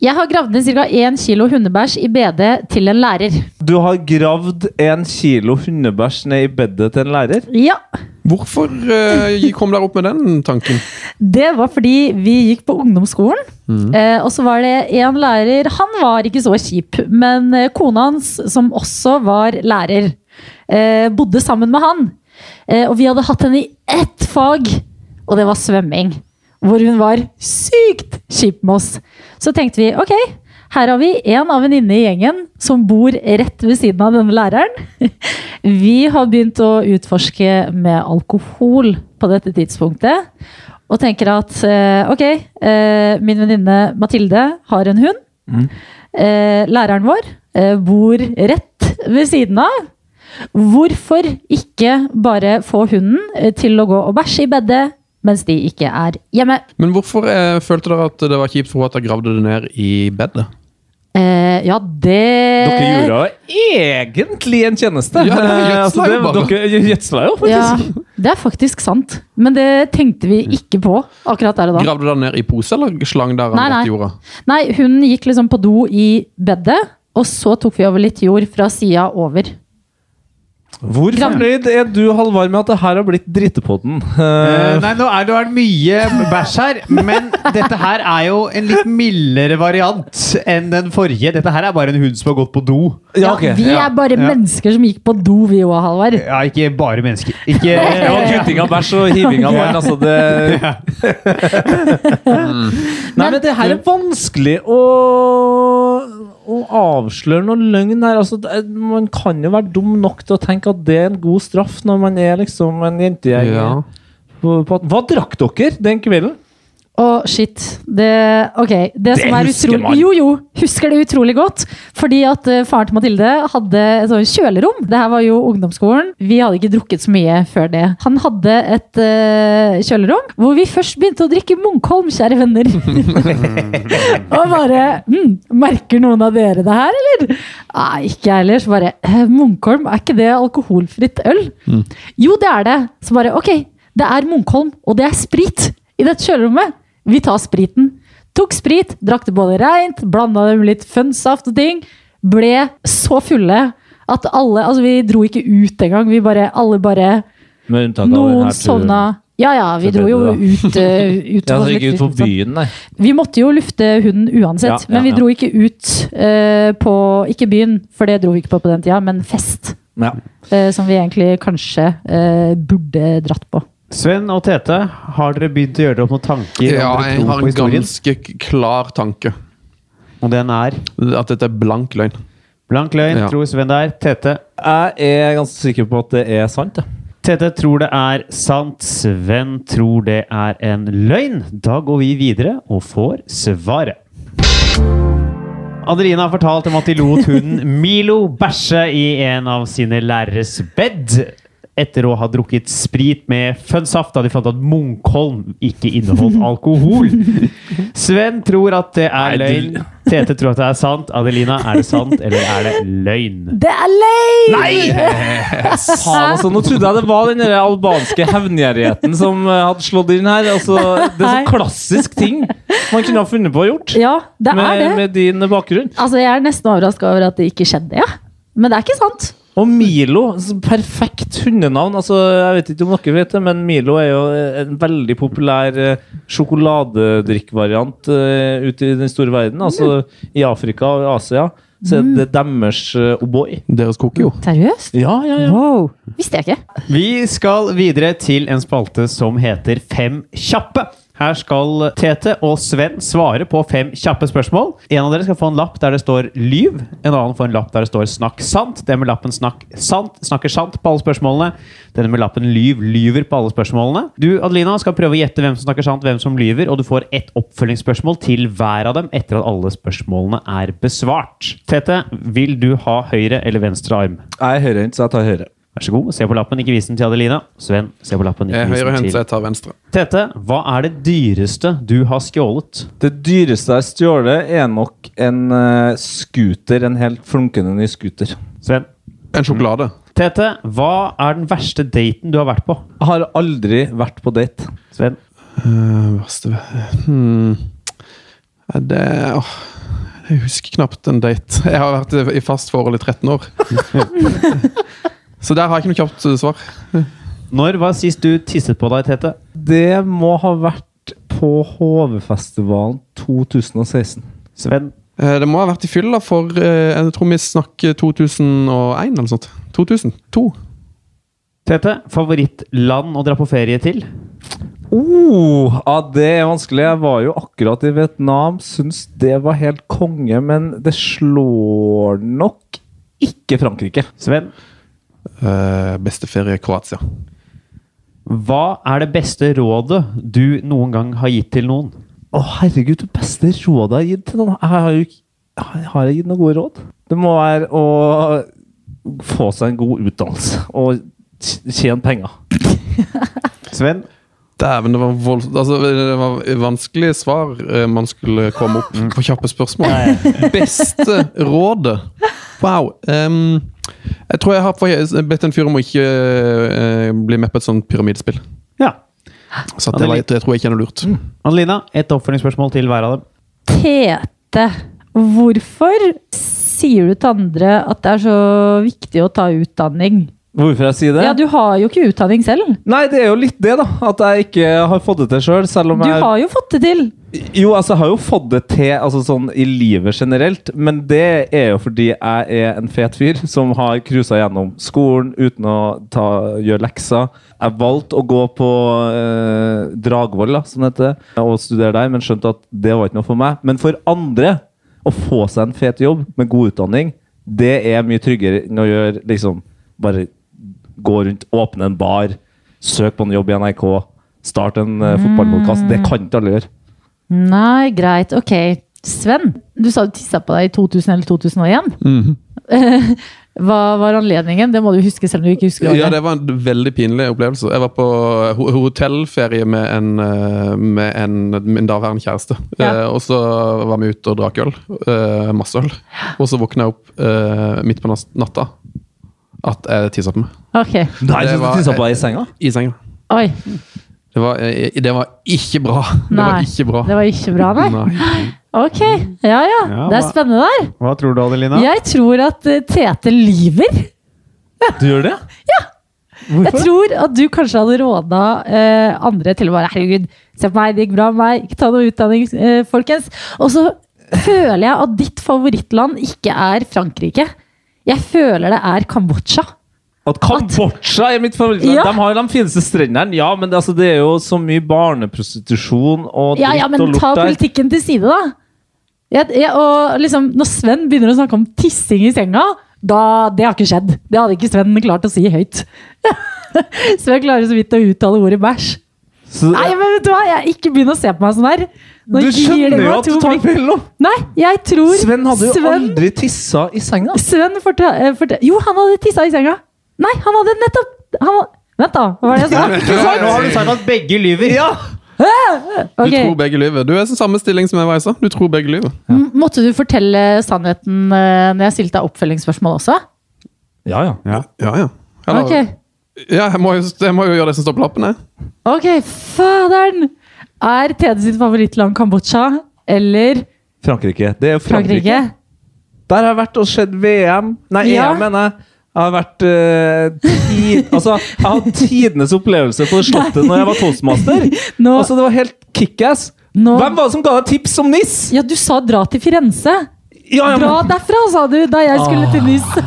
Speaker 4: Jeg har gravd ned ca. 1 kilo hundebæsj i BD til en lærer.
Speaker 5: Du har gravd en kilo hundebæsj ned i bedet til en lærer.
Speaker 4: Ja,
Speaker 3: Hvorfor eh, kom dere opp med den tanken?
Speaker 4: Det var fordi vi gikk på ungdomsskolen. Eh, og så var det en lærer Han var ikke så kjip, men eh, kona hans, som også var lærer, eh, bodde sammen med han. Eh, og vi hadde hatt henne i ett fag, og det var svømming. Hvor hun var sykt kjip med oss. Så tenkte vi ok, her har vi en av venninnene i gjengen som bor rett ved siden av denne læreren. (laughs) Vi har begynt å utforske med alkohol på dette tidspunktet. Og tenker at eh, ok, eh, min venninne Mathilde har en hund.
Speaker 5: Mm.
Speaker 4: Eh, læreren vår eh, bor rett ved siden av. Hvorfor ikke bare få hunden eh, til å gå og bæsje i bedet mens de ikke er hjemme?
Speaker 3: Men hvorfor eh, følte dere at det var kjipt for henne at dere gravde det ned i bedet?
Speaker 4: Eh, ja, det
Speaker 5: Dere gjorde jo egentlig en tjeneste.
Speaker 3: Ja, dere
Speaker 5: Eh,
Speaker 3: gjødsla jo
Speaker 5: det-
Speaker 3: bare.
Speaker 5: Dere gjødsla jo, faktisk.
Speaker 4: Ja, det er faktisk sant. Men det tenkte vi ikke på akkurat der og da.
Speaker 3: Gravde dere ned i pose, eller slang dere den
Speaker 4: Nei, nei.
Speaker 3: rett i jorda?
Speaker 4: Nei, hun gikk liksom på do i bedet, og så tok vi over litt jord fra sida over.
Speaker 5: Hvor
Speaker 4: Gram-
Speaker 5: fornøyd er du, Halvard, med at det her har blitt drittepodden?
Speaker 2: Eh,
Speaker 5: Eh,
Speaker 2: nei, nå er det, nå er det mye bæsj her, men dette her er jo en litt mildere variant enn den forrige. Dette her er bare en hund som har gått på do.
Speaker 5: ja, ok,
Speaker 4: vi
Speaker 5: ja.
Speaker 4: er bare
Speaker 2: Ja.
Speaker 4: mennesker som gikk på do, vi òg, Halvard.
Speaker 2: Ja, ikke bare mennesker. Ikke
Speaker 5: Det var kutting av bæsj og hiving av vann. Altså det...
Speaker 4: (laughs)
Speaker 5: Mm. Nei, men det her er vanskelig å, å avsløre noe løgn her. Altså, det, er- man kan jo være dum nok til å tenke at det er en god straff når man er liksom en jentegjeng.
Speaker 3: Ja.
Speaker 5: På, på, hva drakk dere den kvelden?
Speaker 4: Å, shit. Det, ok, det, som er
Speaker 5: husker
Speaker 4: utrolig
Speaker 5: man.
Speaker 4: Jo, jo, husker det utrolig godt. Fordi at eh, faren til Mathilde hadde et sånt kjølerom. Det her var jo ungdomsskolen. Vi hadde ikke drukket så mye før det. Han hadde et eh, kjølerom hvor vi først begynte å drikke Munkholm, kjære venner.
Speaker 5: (laughs)
Speaker 4: Og bare hm, Merker noen av dere det her, eller? Nei, ikke jeg heller. Så bare eh, Munkholm, er ikke det alkoholfritt øl?
Speaker 5: Mm.
Speaker 4: Jo, det er det. Så bare ok, det er Munkholm, og det er sprit i dette kjølerommet. Vi tar spriten. Tok sprit, drakk det både reint, blanda det med litt fønsaft og ting. Ble så fulle at alle Altså, vi dro ikke ut engang. Vi bare Alle bare
Speaker 5: Med unntak
Speaker 4: Noen sovna. Ja, ja, vi
Speaker 5: til
Speaker 4: dro jo
Speaker 5: bedre,
Speaker 4: ut. eh, ut
Speaker 5: (laughs) Jeg
Speaker 4: på
Speaker 5: drar ikke
Speaker 4: litt
Speaker 5: ut på
Speaker 4: sånn.
Speaker 5: byen, nei.
Speaker 4: Vi måtte jo lufte hunden uansett,
Speaker 5: Ja, ja,
Speaker 4: men vi
Speaker 5: ja.
Speaker 4: dro ikke ut eh, på Ikke byen, for det dro vi ikke på på den tida, men fest.
Speaker 5: Ja.
Speaker 4: eh, som vi egentlig kanskje eh, burde dratt på.
Speaker 2: Sven og Tete, har dere begynt å gjøre dere opp noen tanker
Speaker 3: Ja,
Speaker 2: om dere
Speaker 3: jeg
Speaker 2: tror
Speaker 3: har
Speaker 2: på
Speaker 3: en
Speaker 2: historien?
Speaker 3: ganske k- klar tanke.
Speaker 2: Og den er
Speaker 3: At dette er blank løgn.
Speaker 2: blank løgn,
Speaker 3: Ja.
Speaker 2: tror Sven det er. Tete.
Speaker 5: Jeg er ganske sikker på at det er sant. Ja.
Speaker 2: Tete tror det er sant, Sven tror det er en løgn. Da går vi videre og får svaret. Adelina har fortalt om at de lot hunden Milo bæsje i en av sine læreres bed. etter å ha drukket sprit med fønnsaft da de fant at Munkholm ikke inneholdt alkohol. Sven tror at det er
Speaker 5: Nei, du-
Speaker 2: løgn. Tete tror at det er sant. Adelina, er det sant, eller er det løgn?
Speaker 4: Det er løgn!
Speaker 5: Faen, altså, nå trodde jeg det var den der albanske hevngjerrigheten som eh, hadde slått inn her. Altså, det er
Speaker 4: Nei.
Speaker 5: sånn klassisk ting man kunne ha funnet på å gjort.
Speaker 4: Ja, det er
Speaker 5: Med,
Speaker 4: det.
Speaker 5: med din bakgrunn.
Speaker 4: Altså, jeg er nesten overraska over at det ikke skjedde, ja. Men det er ikke sant.
Speaker 5: Og Milo, så perfekt hundenavn. Altså, jeg vet ikke om dere vet det, men Milo er jo eh, en veldig populær eh, sjokoladedrikkvariant eh, ute i den store verden. Altså i Afrika og i Asia. Så er
Speaker 4: Mm.
Speaker 5: det deres eh, O'boy.
Speaker 3: Deres koker jo.
Speaker 4: Seriøst?
Speaker 5: Ja, ja, ja.
Speaker 4: Wow. Visste jeg ikke.
Speaker 2: Vi skal videre til en spalte som heter Fem kjappe. Her skal Tete og Sven svare på fem kjappe spørsmål. En av dere skal få en lapp der det står 'lyv'. En annen får en lapp der det står 'snakk sant'. Den med lappen 'snakk sant' snakker sant på alle spørsmålene. Den med lappen 'lyv' lyver på alle spørsmålene. Du, Adelina, skal prøve å gjette hvem som snakker sant, hvem som lyver, og du får ett oppfølgingsspørsmål til hver av dem etter at alle spørsmålene er besvart. Tete, vil du ha høyre eller venstre arm?
Speaker 5: Jeg er høyrehendt, så jeg tar høyre.
Speaker 2: Vær så god, se på lappen, ikke vis den til Adelina. Sven, se på lappen, ikke
Speaker 3: Jeg er
Speaker 2: vis den
Speaker 3: høyrehendt, så
Speaker 2: til
Speaker 3: jeg tar venstre.
Speaker 2: Tete. Hva er det dyreste du har skjålet?
Speaker 5: Det dyreste jeg har stjålet, er nok en eh, scooter. En helt flunkende ny scooter.
Speaker 2: Sven.
Speaker 3: En sjokolade.
Speaker 2: Tete, hva er den verste daten du har vært på?
Speaker 5: Jeg har aldri vært på date.
Speaker 2: Sven.
Speaker 3: Eh, verste hmm. Er Det åh, Jeg husker knapt en date. (laughs) Jeg har vært i fast forhold i 13 (laughs) år. Så der har jeg ikke noe kjapt eh, svar.
Speaker 2: Når var sist du tisset på deg, Tete?
Speaker 5: Det må ha vært på HV-festivalen 2016.
Speaker 2: Sven.
Speaker 3: Eh, Det må ha vært i fylla for eh, Jeg tror vi snakker 2001 eller noe sånt. 2002.
Speaker 2: Tete, favorittland å dra på ferie til?
Speaker 5: Oh, ja, det er vanskelig. Jeg var jo akkurat i Vietnam. Syns det var helt konge, men det slår nok ikke Frankrike.
Speaker 2: Sven.
Speaker 3: Eh, Beste ferie Kroatia.
Speaker 2: Hva er det beste rådet du noen gang har gitt til noen?
Speaker 5: Å, herregud, det beste rådet jeg har gitt til noen Jeg har jo ikke Har jeg gitt noen gode råd? Det må være å få seg en god utdannelse og t- tjene penger.
Speaker 2: Sven.
Speaker 3: Dæven, det var, vold... altså, det var vanskelig svar eh, man skulle komme opp på kjappe spørsmål. (laughs) Beste rådet? Wow. ehm, jeg tror jeg har for- bedt en fyr om å ikke eh, bli med på et sånt pyramidespill.
Speaker 2: Ja.
Speaker 3: Så at det, var- det tror jeg ikke er Mm. noe lurt.
Speaker 2: Adelina, et oppfølgingsspørsmål til hver av dem.
Speaker 4: Tete, hvorfor sier du til andre at det er så viktig å ta utdanning?
Speaker 5: Hvorfor jeg sier det?
Speaker 4: Ja, du har jo ikke utdanning selv.
Speaker 5: Nei, det er jo litt det, da. At jeg ikke har fått det til sjøl. Selv om
Speaker 4: Du
Speaker 5: jeg
Speaker 4: har jo fått det til.
Speaker 5: Jo, altså, jeg har jo fått det til altså, sånn i livet generelt, men det er jo fordi jeg er en fet fyr som har cruisa gjennom skolen uten å ta, gjøre lekser. Jeg valgte å gå på eh, Dragvoll, da, som det heter, og studere der, men skjønte at det var ikke noe for meg. Men for andre, å få seg en fet jobb med god utdanning, det er mye tryggere enn å gjøre liksom bare gå rundt, åpne en bar, søk på en jobb i NRK, start en uh, fotballpodkast. Det kan ikke alle gjøre.
Speaker 4: Nei, greit. Ok. Sven, du sa du tissa på deg i 2000 eller 2001. (laughs) Hva var anledningen? Det må du huske selv om du ikke husker
Speaker 3: Ja,
Speaker 4: året.
Speaker 3: det var en veldig pinlig opplevelse. Jeg var på ho- hotellferie med en, eh, med en min daværende kjæreste.
Speaker 4: Ja.
Speaker 3: Eh, og så var vi ute og drakk øl. eh, masse øl. Og så våkna jeg opp eh, midt på nas- natta at jeg tissa på meg
Speaker 4: Ok.
Speaker 5: Nei,
Speaker 3: Det
Speaker 5: du
Speaker 3: var-
Speaker 5: tissa på deg i senga?
Speaker 3: i senga.
Speaker 4: Oi.
Speaker 3: Det var, eh, det var ikke bra! Det
Speaker 4: Nei,
Speaker 3: var ikke bra.
Speaker 4: Det var ikke bra, nei?
Speaker 3: Nei.
Speaker 4: Ok. Ja, ja.
Speaker 2: Ja,
Speaker 4: Det er
Speaker 2: hva-
Speaker 4: spennende der.
Speaker 2: Hva tror du, Adelina?
Speaker 4: Jeg tror at eh, Tete lyver.
Speaker 5: Du gjør det?
Speaker 4: Jeg tror at du kanskje hadde råda eh, andre til å bare Herregud, se på meg, det gikk bra med meg. Ikke ta noe utdanning, eh, folkens. Og så føler jeg at ditt favorittland ikke er Frankrike. Jeg føler det er Kambodsja.
Speaker 5: At Kambodsja er mitt favorittland.
Speaker 4: Ja.
Speaker 5: De har jo de fineste strendene, ja, men det, altså, det er jo så mye barneprostitusjon og dritt
Speaker 4: Ja, ja, men
Speaker 5: og
Speaker 4: ta
Speaker 5: lukt der.
Speaker 4: politikken til side, da. Jeg, jeg, og liksom, når Sven begynner å snakke om tissing i senga, da Det har ikke skjedd. Det hadde ikke Sven klart å si høyt. (laughs) Sven klarer så vidt å uttale ordet bæsj.
Speaker 5: Så,
Speaker 4: Nei, men vet du hva? Jeg Ikke begynn å se på meg sånn her. Nå
Speaker 5: du
Speaker 4: gir det
Speaker 5: skjønner
Speaker 4: meg
Speaker 5: jo at
Speaker 4: to
Speaker 5: du tar
Speaker 4: blikk.
Speaker 5: feil nå!
Speaker 4: Nei, jeg tror
Speaker 5: Sven hadde jo
Speaker 4: Sven,
Speaker 5: aldri tissa i senga.
Speaker 4: Sven fortel, eh, fortel, Jo, han hadde tissa i senga. Nei, han hadde nettopp han, Vent, da. Hva var det jeg sa?
Speaker 2: Ikke sant? Nå har du sagt at begge lyver. Ja!
Speaker 3: Du
Speaker 4: Ok.
Speaker 3: tror begge lyver. Du er i samme stilling som jeg var i stad. Du tror begge lyver.
Speaker 4: M- Måtte du fortelle sannheten eh, når jeg stilte deg oppfølgingsspørsmål også?
Speaker 5: Ja, ja.
Speaker 3: Ja, ja. Eller-
Speaker 4: Ok,
Speaker 3: ja jeg, må jo, jeg må jo gjøre det som står på lappen, jeg.
Speaker 4: ok, faderen! Er Tede sitt favorittland Kambodsja eller
Speaker 5: Frankrike. Det er jo Frankrike.
Speaker 4: Frankrike?
Speaker 5: Der har jeg vært og sett VM. Nei,
Speaker 4: Ja.
Speaker 5: EM, mener jeg. Jeg har vært eh, ti, Altså, jeg har hatt tidenes opplevelse på Slottet når jeg var toastmaster.
Speaker 4: Nå,
Speaker 5: Altså, det var helt kickass.
Speaker 4: nå,
Speaker 5: Hvem var det som ga deg tips om NIS?
Speaker 4: ja, du sa dra til Firenze.
Speaker 5: Ja, ja, men- Ah.
Speaker 4: Dra derfra, sa du, da jeg skulle til Nice.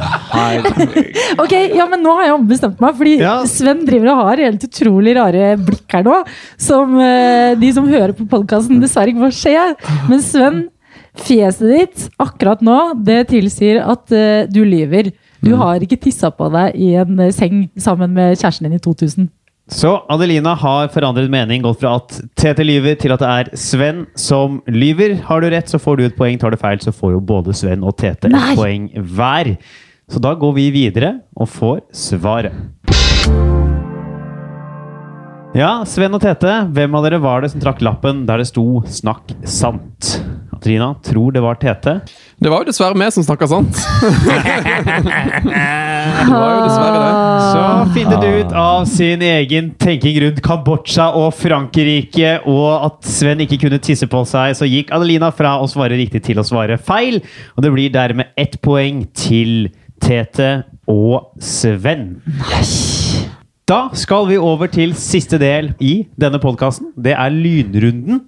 Speaker 4: Ok, ja, men nå har jeg ombestemt meg, fordi
Speaker 2: Ja.
Speaker 4: Sven driver og har helt utrolig rare blikk her nå, som eh, de som hører på podkasten dessverre ikke får se. Men Sven, fjeset ditt akkurat nå, det tilsier at eh, du lyver. Du har ikke tissa på deg i en eh, seng sammen med kjæresten din i 2000.
Speaker 2: Så Adelina har forandret mening, gått fra at Tete lyver til at det er Sven som lyver. Har du rett, så får du et poeng. Tar du feil, så får jo både Sven og Tete
Speaker 4: Nei.
Speaker 2: et poeng hver. Så da går vi videre og får svaret. Ja, Sven og Tete, hvem av dere var det som trakk lappen der det sto 'snakk sant'? Adelina tror det var Tete.
Speaker 3: Det var jo dessverre vi som snakka sant. det var jo dessverre det.
Speaker 5: Ah.
Speaker 2: Så finner du ut av sin egen tenking rundt Kambodsja og Frankrike, og at Sven ikke kunne tisse på seg, så gikk Adelina fra å svare riktig til å svare feil. Og det blir dermed ett poeng til Tete og Sven. Da skal vi over til siste del i denne podkasten. Det er lynrunden.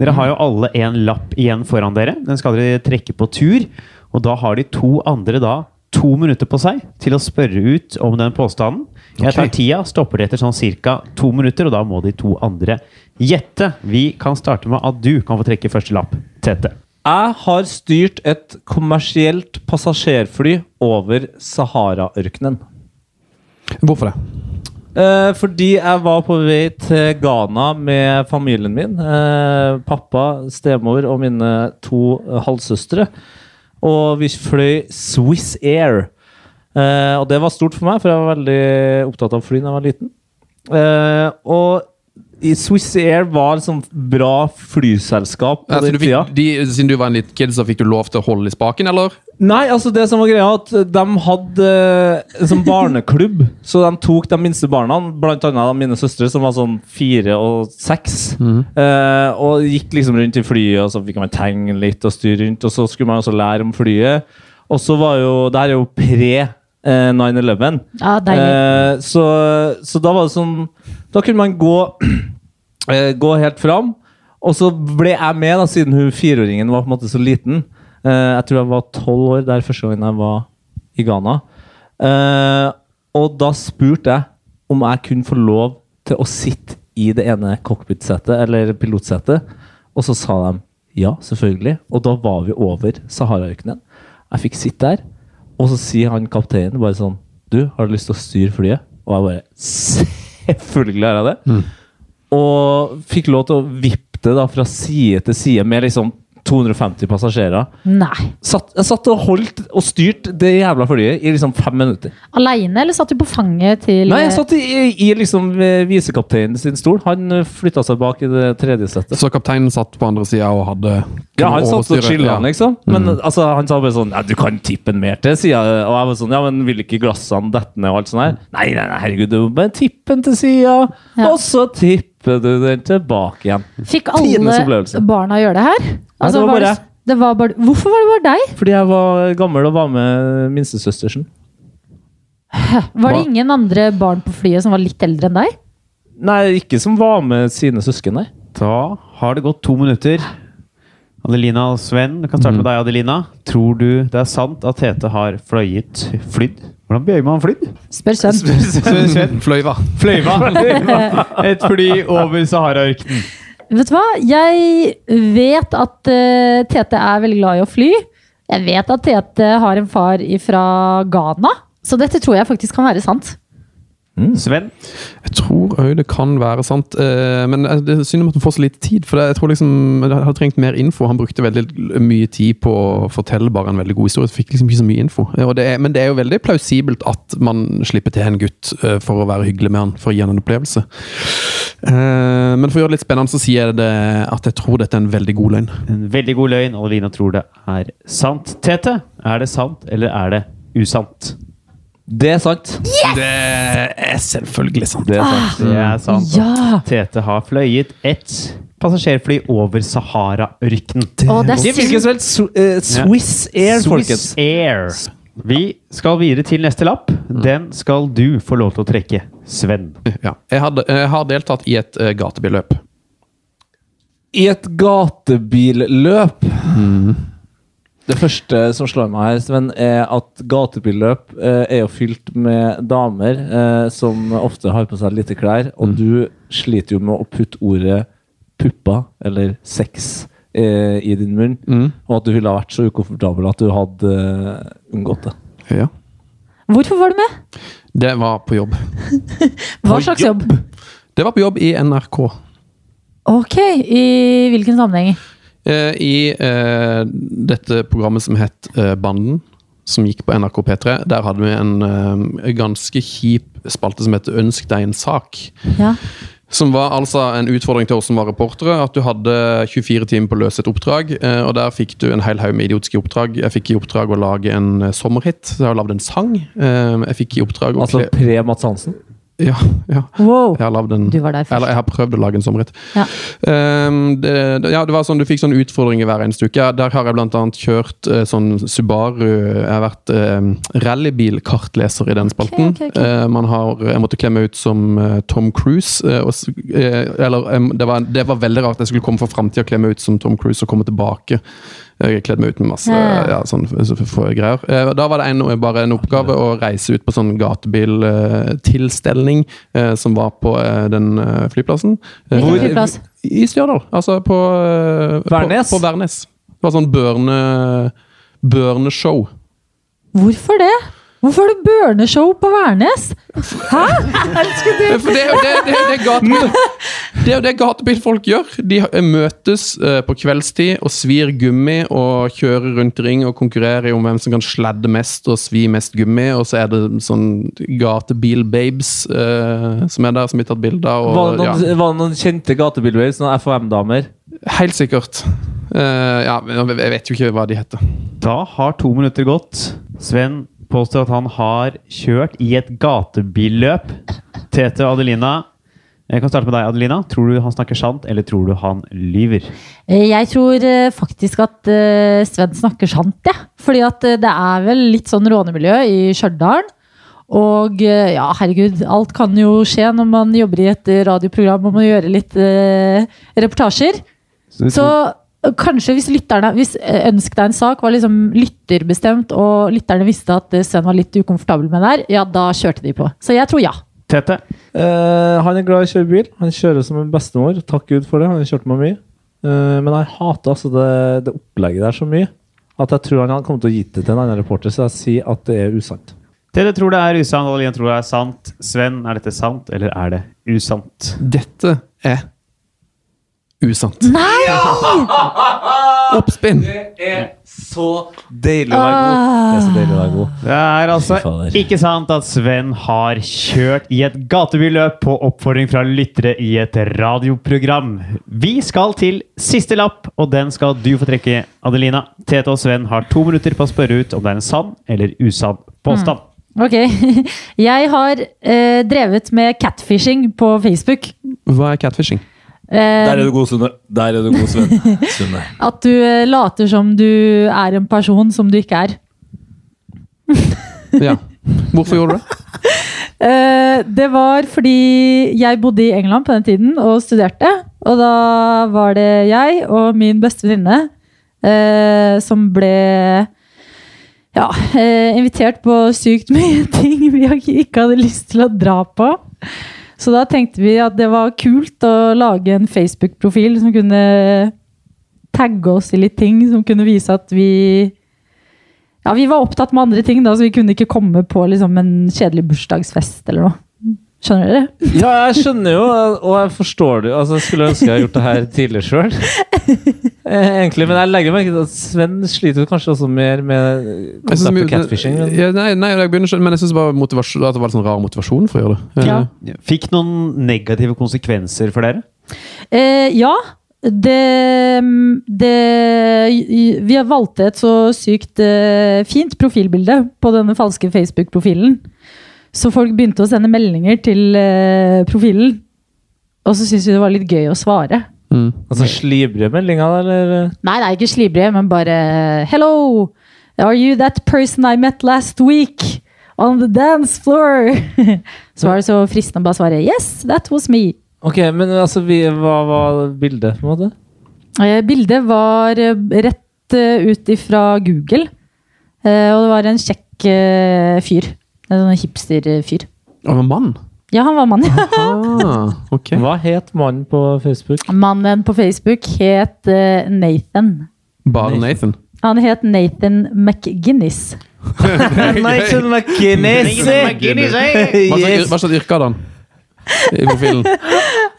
Speaker 2: Dere har jo alle en lapp igjen foran dere. Den skal dere trekke på tur. Og da har de to andre da to minutter på seg til å spørre ut om den påstanden. Jeg tar tida, stopper det etter sånn ca. to minutter, og da må de to andre gjette. Vi kan starte med at du kan få trekke første lapp, Tete.
Speaker 5: Jeg har styrt et kommersielt passasjerfly over Sahara-ørkenen.
Speaker 3: Hvorfor det?
Speaker 5: Eh, fordi jeg var på vei til Ghana med familien min. Eh, pappa, stemor og mine to eh, halvsøstre. Og vi fløy Swiss Air. Eh, og det var stort for meg, for jeg var veldig opptatt av fly da jeg var liten. Eh, og i Swiss Air var liksom bra flyselskap på
Speaker 3: Altså,
Speaker 5: den
Speaker 3: du
Speaker 5: tida.
Speaker 3: fikk, de, siden du var en liten kid, så fikk du lov til å holde i spaken, eller?
Speaker 5: Nei, altså det som var greia at de hadde eh, en sånn barneklubb, så de tok de minste barna, blant annet mine søstre som var sånn fire og seks, eh, og gikk liksom rundt i flyet, og så fikk man tegne litt og styre rundt, og så skulle man også lære om flyet. Og så var jo, det her er jo pre eh, 9-11,
Speaker 4: Ja, deilig.
Speaker 5: Eh, så, så da var det sånn Da kunne man gå, eh, gå helt fram. Og så ble jeg med, da, siden hun fireåringen var på en måte så liten. Eh, jeg tror jeg var tolv år der første gangen jeg var i Ghana. Eh, og da spurte jeg om jeg kunne få lov til å sitte i det ene cockpit-setet, eller pilotsetet. Og så sa de ja, selvfølgelig. Og da var vi over Sahara-ørkenen. Jeg fikk sitte der, og så sier han kapteinen bare sånn Du, har du lyst til å styre flyet? Og jeg bare Selvfølgelig har jeg det. Og fikk lov til å vippe det da fra side til side med liksom 250 passasjerer.
Speaker 4: Nei.
Speaker 5: Satt, jeg satt og holdt og styrte det jævla flyet i liksom fem minutter.
Speaker 4: Aleine, eller satt du på fanget til eh,
Speaker 5: Nei, jeg satt i, i liksom eh, visekapteinen sin stol. Han eh, flytta seg bak i det tredje settet.
Speaker 3: Så kapteinen satt på andre sida og hadde
Speaker 5: Ja, han satt og
Speaker 3: overstyre-
Speaker 5: chilla,
Speaker 3: ja. Mm.
Speaker 5: liksom. Men altså, han sa bare sånn Ja, du kan tippe en mer til, sier jeg. Og jeg var sånn Ja, men vil ikke glassene dette ned og alt sånt her? Nei, nei, nei, herregud, du må bare tippe den til sida,
Speaker 4: Ja.
Speaker 5: og så tipper du den tilbake igjen.
Speaker 4: Fikk
Speaker 5: Tidenes
Speaker 4: alle
Speaker 5: opplevelse.
Speaker 4: barna gjøre det her? Altså,
Speaker 5: det var
Speaker 4: var
Speaker 5: bare-
Speaker 4: det, det var bare Hvorfor var det bare deg?
Speaker 5: Fordi jeg var gammel og var med minstesøstersen.
Speaker 4: Var det
Speaker 3: Hva?
Speaker 4: ingen andre barn på flyet som var litt eldre enn deg?
Speaker 5: Nei, ikke som var med sine søsken, nei.
Speaker 2: Da har det gått to minutter. Adelina og Sven, du kan starte med deg, Adelina. Tror du det er sant at Tete har fløyet flydd? Hvordan bøyer man flydd?
Speaker 4: Spør Sven.
Speaker 2: Sven,
Speaker 3: Fløyva.
Speaker 2: fløyva. (laughs) Et fly over Sahara-ørkenen.
Speaker 4: Vet du hva? Jeg vet at eh, Tete er veldig glad i å fly. Jeg vet at Tete har en far fra Ghana. Så dette tror jeg faktisk kan være sant.
Speaker 2: Sven?
Speaker 3: Jeg tror òg det kan være sant. eh, Men eh, det er synd om at han får så lite tid. For det- jeg tror liksom, jeg hadde trengt mer info. Han brukte veldig mye tid på å fortelle bare en veldig god historie. så Fikk liksom ikke så mye info. Eh, Og det er, men det er jo veldig plausibelt at man slipper til en gutt eh, for å være hyggelig med han, for å gi han en opplevelse. Eh, Men for å gjøre det litt spennende, så sier jeg det at jeg tror dette er en veldig god løgn.
Speaker 2: En veldig god løgn. Alvina tror det er sant. Tete, er det sant, eller er det usant?
Speaker 5: Det er sant.
Speaker 3: Det er selvfølgelig sant.
Speaker 5: Det er sant.
Speaker 2: Det er sant.
Speaker 4: Ja!
Speaker 2: Tete har fløyet et passasjerfly over Sahara-ørkenen.
Speaker 4: Og det er synd.
Speaker 5: vel Sw- eh, Swiss Air, folkens.
Speaker 2: Swiss Air. Vi skal videre til neste lapp. Den skal du få lov til å trekke, Sven.
Speaker 3: Ja. Jeg, hadde, jeg har deltatt i et eh, gatebilløp.
Speaker 5: I et gatebilløp
Speaker 3: Mm.
Speaker 5: Det første som slår meg her, Sven, er at gatebilløp eh, er jo fylt med damer eh, som ofte har på seg lite klær,
Speaker 3: Mm.
Speaker 5: og du sliter jo med å putte ordet puppa eller sex eh, i din munn,
Speaker 3: Mm.
Speaker 5: og at du ville ha vært så ukomfortabel at du hadde eh, unngått det.
Speaker 3: Ja.
Speaker 4: Hvorfor var du med?
Speaker 3: Det var på jobb.
Speaker 4: Hva slags jobb?
Speaker 3: Det var på jobb i NRK.
Speaker 4: Ok, i hvilken sammenheng?
Speaker 3: Eh, I eh, dette programmet som het eh, Banden, som gikk på NRK P3, der hadde vi en eh, ganske kjip spalte som heter Ønsk deg en sak.
Speaker 4: Ja.
Speaker 3: Som var altså en utfordring til oss som var reportere. At du hadde 24 timer på å løse et oppdrag. eh, Og der fikk du en hel haug med idiotiske oppdrag. Jeg fikk i oppdrag å lage en eh, sommerhit. Så jeg har lagd en sang. Eh, Jeg fikk i oppdrag å
Speaker 5: Altså
Speaker 3: kle
Speaker 5: pre-Mats Hansen.
Speaker 3: Ja, ja.
Speaker 4: Wow.
Speaker 3: Jeg har lagd en
Speaker 4: Du var der først.
Speaker 3: Eller jeg har prøvd å lage en sommerhit.
Speaker 4: Ja.
Speaker 3: Ehm, det, det- ja, det var sånn, Du fikk sånne utfordringer hver eneste uke. Ja, Der har jeg blant annet kjørt eh, sånn Subaru Jeg har vært eh, rallybilkartleser i den spalten.
Speaker 4: ok, ok.
Speaker 3: Eh, man har, jeg måtte kle meg ut som eh, Tom Cruise. eh, og, s- eh, eller, em, det, var, det var veldig rart. Jeg skulle komme for framtida og kle meg ut som Tom Cruise og komme tilbake. Jeg kledde meg ut med masse
Speaker 4: Ja.
Speaker 3: ja, sånn, så f- f- greier. Eh, Da var det en, bare en oppgave å reise ut på sånn gatebiltilstelning eh, som var på eh, den eh, flyplassen. Eh,
Speaker 4: Hvilken flyplass?
Speaker 3: I Stjørdal. Altså på eh,
Speaker 5: Værnes?
Speaker 3: På, på Værnes. Det var sånn børne... Børneshow.
Speaker 4: Hvorfor det? Hvorfor er det børneshow på Værnes? Hæ? (laughs) Elsker du?
Speaker 3: For det er jo det, det, er jo det, gate, det, er jo det gatebilfolk gjør. De har- møtes eh, på kveldstid og svir gummi og kjører rundt i ring og konkurrerer om hvem som kan sladde mest og svi mest gummi. Og så er det sånn gatebilbabes eh, som er der, som blir tatt bilder av.
Speaker 5: Var det
Speaker 3: og-
Speaker 5: noen,
Speaker 3: Ja,
Speaker 5: var det noen kjente gatebilløp, sånne FHM-damer?
Speaker 3: helt sikkert. Eh, ja, men jeg vet jo ikke hva de heter.
Speaker 2: Da har to minutter gått. Sven påstår at han har kjørt i et gatebilløp. Tete og Adelina, jeg kan starte med deg, Adelina. Tror du han snakker sant, eller tror du han lyver?
Speaker 4: Eh, Jeg tror eh, faktisk at eh, Sven snakker sant, jeg. Fordi at eh, det er vel litt sånn rånemiljø i Stjørdal. Og eh, ja, herregud, alt kan jo skje når man jobber i et eh, radioprogram og må gjøre litt eh, reportasjer. Så eh, kanskje hvis lytterne Hvis eh, Ønsk deg en sak var liksom lytterbestemt, og lytterne visste at eh, Sven var litt ukomfortabel med det her, ja, da kjørte de på. Så jeg tror ja.
Speaker 2: Tete,
Speaker 5: Eh, han er glad i å kjøre bil. Han kjører som en bestemor. Takk Gud for det. Han har kjørt meg mye. Eh, men jeg hater altså det, det opplegget der så mye at jeg tror han hadde kommet til å gitt det til en annen reporter, så jeg sier at det er usant.
Speaker 2: Tete tror det er usant, Adelina tror det er sant. Sven, er dette sant, eller er det usant?
Speaker 3: Dette er usant. Nei! Oppspinn.
Speaker 5: Så deilig å være
Speaker 3: Ah.
Speaker 5: god. Det er så deilig å være god.
Speaker 2: Det er altså
Speaker 5: Fy fader.
Speaker 2: ikke sant at Sven har kjørt i et gatebilløp på oppfordring fra lyttere i et radioprogram. Vi skal til siste lapp, og den skal du få trekke, Adelina. Tete og Sven har to minutter på å spørre ut om det er en sann eller usann påstand.
Speaker 4: Ok. (laughs) Jeg har eh, drevet med catfishing på Facebook.
Speaker 3: Hva er catfishing?
Speaker 4: Eh,
Speaker 5: du god, Sunne. Der er du
Speaker 4: (laughs)
Speaker 5: god, Sven.
Speaker 4: At du eh, later som du er en person som du ikke er.
Speaker 3: Ja. Hvorfor gjorde du det?
Speaker 4: Eh, det var fordi jeg bodde i England på den tiden og studerte. Og da var det jeg og min beste venninne eh, som ble ja, eh, invitert på sykt mye (laughs) ting vi ikke hadde lyst til å dra på. Så da tenkte vi at det var kult å lage en Facebook-profil som kunne tagge oss i litt ting, som kunne vise at vi ja, Vi var opptatt med andre ting, da, så vi kunne ikke komme på liksom, en kjedelig bursdagsfest. eller noe. Skjønner dere?
Speaker 5: Ja, jeg skjønner jo, og jeg forstår det jo. Altså, jeg skulle ønske jeg hadde gjort det her tidligere sjøl. Egentlig, men jeg legger merke til at Sven sliter jo kanskje også mer med
Speaker 3: Jeg synes
Speaker 5: konseptet
Speaker 3: Altså, mye-
Speaker 5: catfishing. Men.
Speaker 3: ja, nei, nei, jeg begynner, ikke- men jeg syns bare motivasjon, at det var litt sånn rar motivasjon for å gjøre det.
Speaker 4: Ja.
Speaker 2: Fikk noen negative konsekvenser for dere?
Speaker 4: Eh, ja. Det, det Vi har valgt et så sykt eh, fint profilbilde på denne falske Facebook-profilen. Så folk begynte å sende meldinger til eh, profilen. Og så syntes vi det var litt gøy å svare.
Speaker 3: Mm.
Speaker 5: Altså slibrige meldinger, eller?
Speaker 4: Nei, nei, ikke slibrige, men bare Hello! Are you that person I met last week? On the dance floor! (laughs) så var det så fristende å bare svare Yes, that was me.
Speaker 5: Ok, men altså, vi, hva var bildet, på en måte?
Speaker 4: Eh, Bildet var eh, rett eh, ut ifra Google. Eh, Og det var en kjekk eh, fyr. En sånn hipster-fyr.
Speaker 3: Og med mann?
Speaker 4: Ja, han var mann.
Speaker 3: Ah, ok.
Speaker 5: Hva het mannen på Facebook?
Speaker 4: (laughs)
Speaker 3: (laughs)
Speaker 4: Mannen på Facebook het eh, Nathan.
Speaker 3: Bare Nathan.
Speaker 4: Han het Nathan McGuinness.
Speaker 5: Nathan McInnes!
Speaker 3: Hva slags, hva slags yrke hadde han i profilen?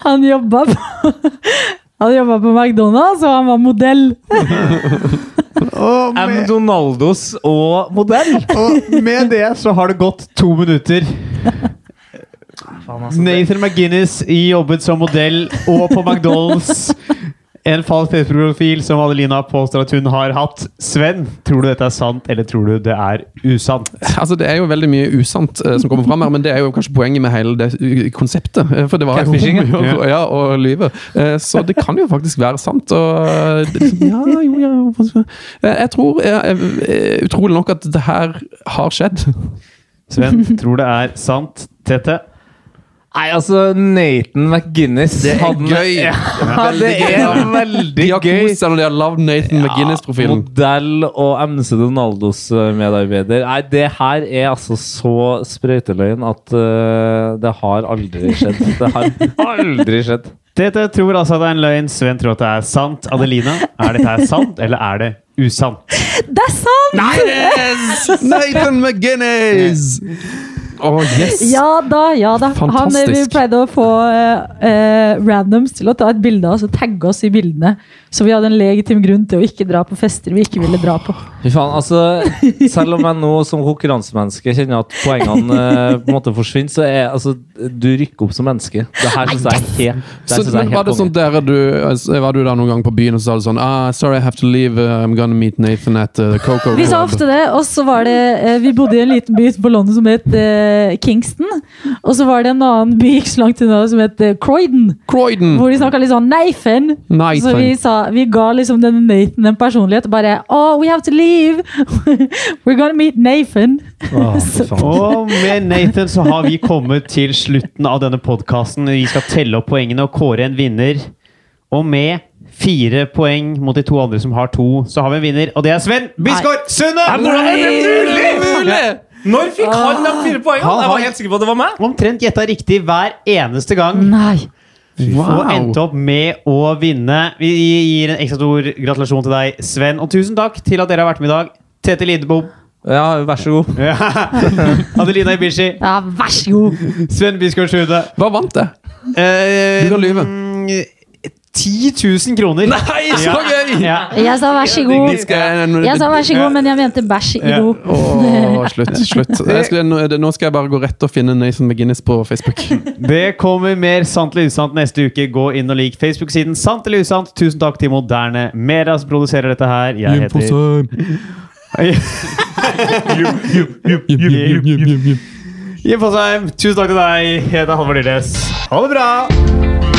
Speaker 4: Han jobba på (laughs) Han jobba på McDonald's, og han var modell.
Speaker 2: Og
Speaker 5: M.
Speaker 2: med,
Speaker 5: Donaldos og modell!
Speaker 2: og med det så har det gått to minutter. Nathan McGuinness jobbet som modell og på McDonald's. En falsk Facebook-profil som Adelina påstår at hun har hatt. Sven, tror du dette er sant, eller tror du det er usant?
Speaker 3: Altså, det er jo veldig mye usant eh, som kommer fram her, men det er jo kanskje poenget med hele det eh, konseptet. eh, For det var jo
Speaker 5: Catfishing,
Speaker 3: om å gjøre- ja, og lyve. Eh, Så det kan jo faktisk være sant. Og eh, det liksom, ja, jo, ja, hva skal- Eh, Jeg tror eh, eh, utrolig nok at det her har skjedd.
Speaker 2: Sven, tror det er sant, Tete?
Speaker 5: Nei, altså, Nathan McGuinness
Speaker 3: Det er gøy.
Speaker 5: Ja, det er veldig
Speaker 3: De har
Speaker 5: gøy!
Speaker 3: kost seg når de har lagd Nathan McGuinness-profilen.
Speaker 5: Modell og MC Donaldos eh, medarbeider. Nei, det her er altså så sprøyteløgn at eh, det har aldri skjedd. Det har aldri skjedd.
Speaker 2: Tete tror altså at det er en løgn. Sven tror at det er sant. Adelina, er dette her sant, eller er det usant?
Speaker 4: Det er sant!
Speaker 3: Nathan McGuinness! Å, yes!
Speaker 4: Ja da, ja da. Han, eh, vi
Speaker 3: Fantastisk.
Speaker 4: pleide å få eh, eh, randoms til å ta et bilde av oss og tagge oss i bildene. Så vi hadde en legitim grunn til å ikke dra på fester vi ikke ville dra på.
Speaker 5: Fy faen, altså Selv om jeg nå som konkurransemenneske kjenner at poengene eh, på en måte forsvinner, så er altså Du rykker opp som menneske. Det her syns jeg er helt, det her
Speaker 3: Så,
Speaker 5: synes jeg
Speaker 3: men
Speaker 5: er
Speaker 3: var
Speaker 5: helt
Speaker 3: det sånn
Speaker 5: konge.
Speaker 3: der du altså, Var du der noen gang på byen og så sa du sånn ah, Sorry, I have to leave. uh, I'm gonna meet Nathan at uh, the Coco
Speaker 4: Vi sa
Speaker 3: Club."
Speaker 4: ofte det, og så var det eh, Vi bodde i en liten by på London som het eh, Kingston. Og så var det en annen by ikke så langt unna som het eh, Croydon.
Speaker 3: Croydon!
Speaker 4: Hvor de snakka litt sånn Nathan. Så
Speaker 3: Nathan.
Speaker 4: Altså, vi, sa, vi ga liksom denne Nathan en personlighet og bare Oh, we have to leave! (laughs) We're gonna meet Nathan.
Speaker 5: Åh, fy faen.
Speaker 2: Og med Nathan så har vi kommet til slutten av denne podkasten. Vi skal telle opp poengene og kåre en vinner. Og med fire poeng mot de to andre som har to, så har vi en vinner, og det er Sven Bisgaard Sunde!
Speaker 5: Når fikk han de fire poengene?
Speaker 2: Han
Speaker 5: Jeg
Speaker 2: har-
Speaker 5: var helt sikker på at det var meg.
Speaker 2: Omtrent gjetta riktig hver eneste gang.
Speaker 4: Nei.
Speaker 2: Og endte
Speaker 3: Wow.
Speaker 2: opp med å vinne. Vi gir en ekstra stor gratulasjon til deg, Sven. Og tusen takk til at dere har vært med i dag. Tete Lidebom,
Speaker 5: Ja, vær så god.
Speaker 2: (laughs) Adelina Ibishi,
Speaker 4: Ja, vær så god!
Speaker 2: Sven Bisgaard Sunde.
Speaker 3: Hva vant det?
Speaker 2: Eh,
Speaker 3: Du kan lyve.
Speaker 2: mm, 10 000 kroner.
Speaker 3: Nei, så gøy! eh,
Speaker 2: Ja.
Speaker 4: Jeg sa vær så god. Jeg sa vær så god, men jeg mente bæsj i do.
Speaker 3: Åh, slutt. slutt.
Speaker 5: (laughs)
Speaker 3: Jeg skulle, nå eh, nå skal jeg bare gå rett og finne Nathan McGuinness på Facebook.
Speaker 5: (laughs)
Speaker 2: Det kommer mer Sant eller usant neste uke. Gå inn og lik Facebook-siden Sant eller usant. Tusen takk til Moderne Media som produserer dette her. Jeg heter Jim Fosheim. Tusen takk til deg. Jeg heter Halvor Lilles. Ha det bra!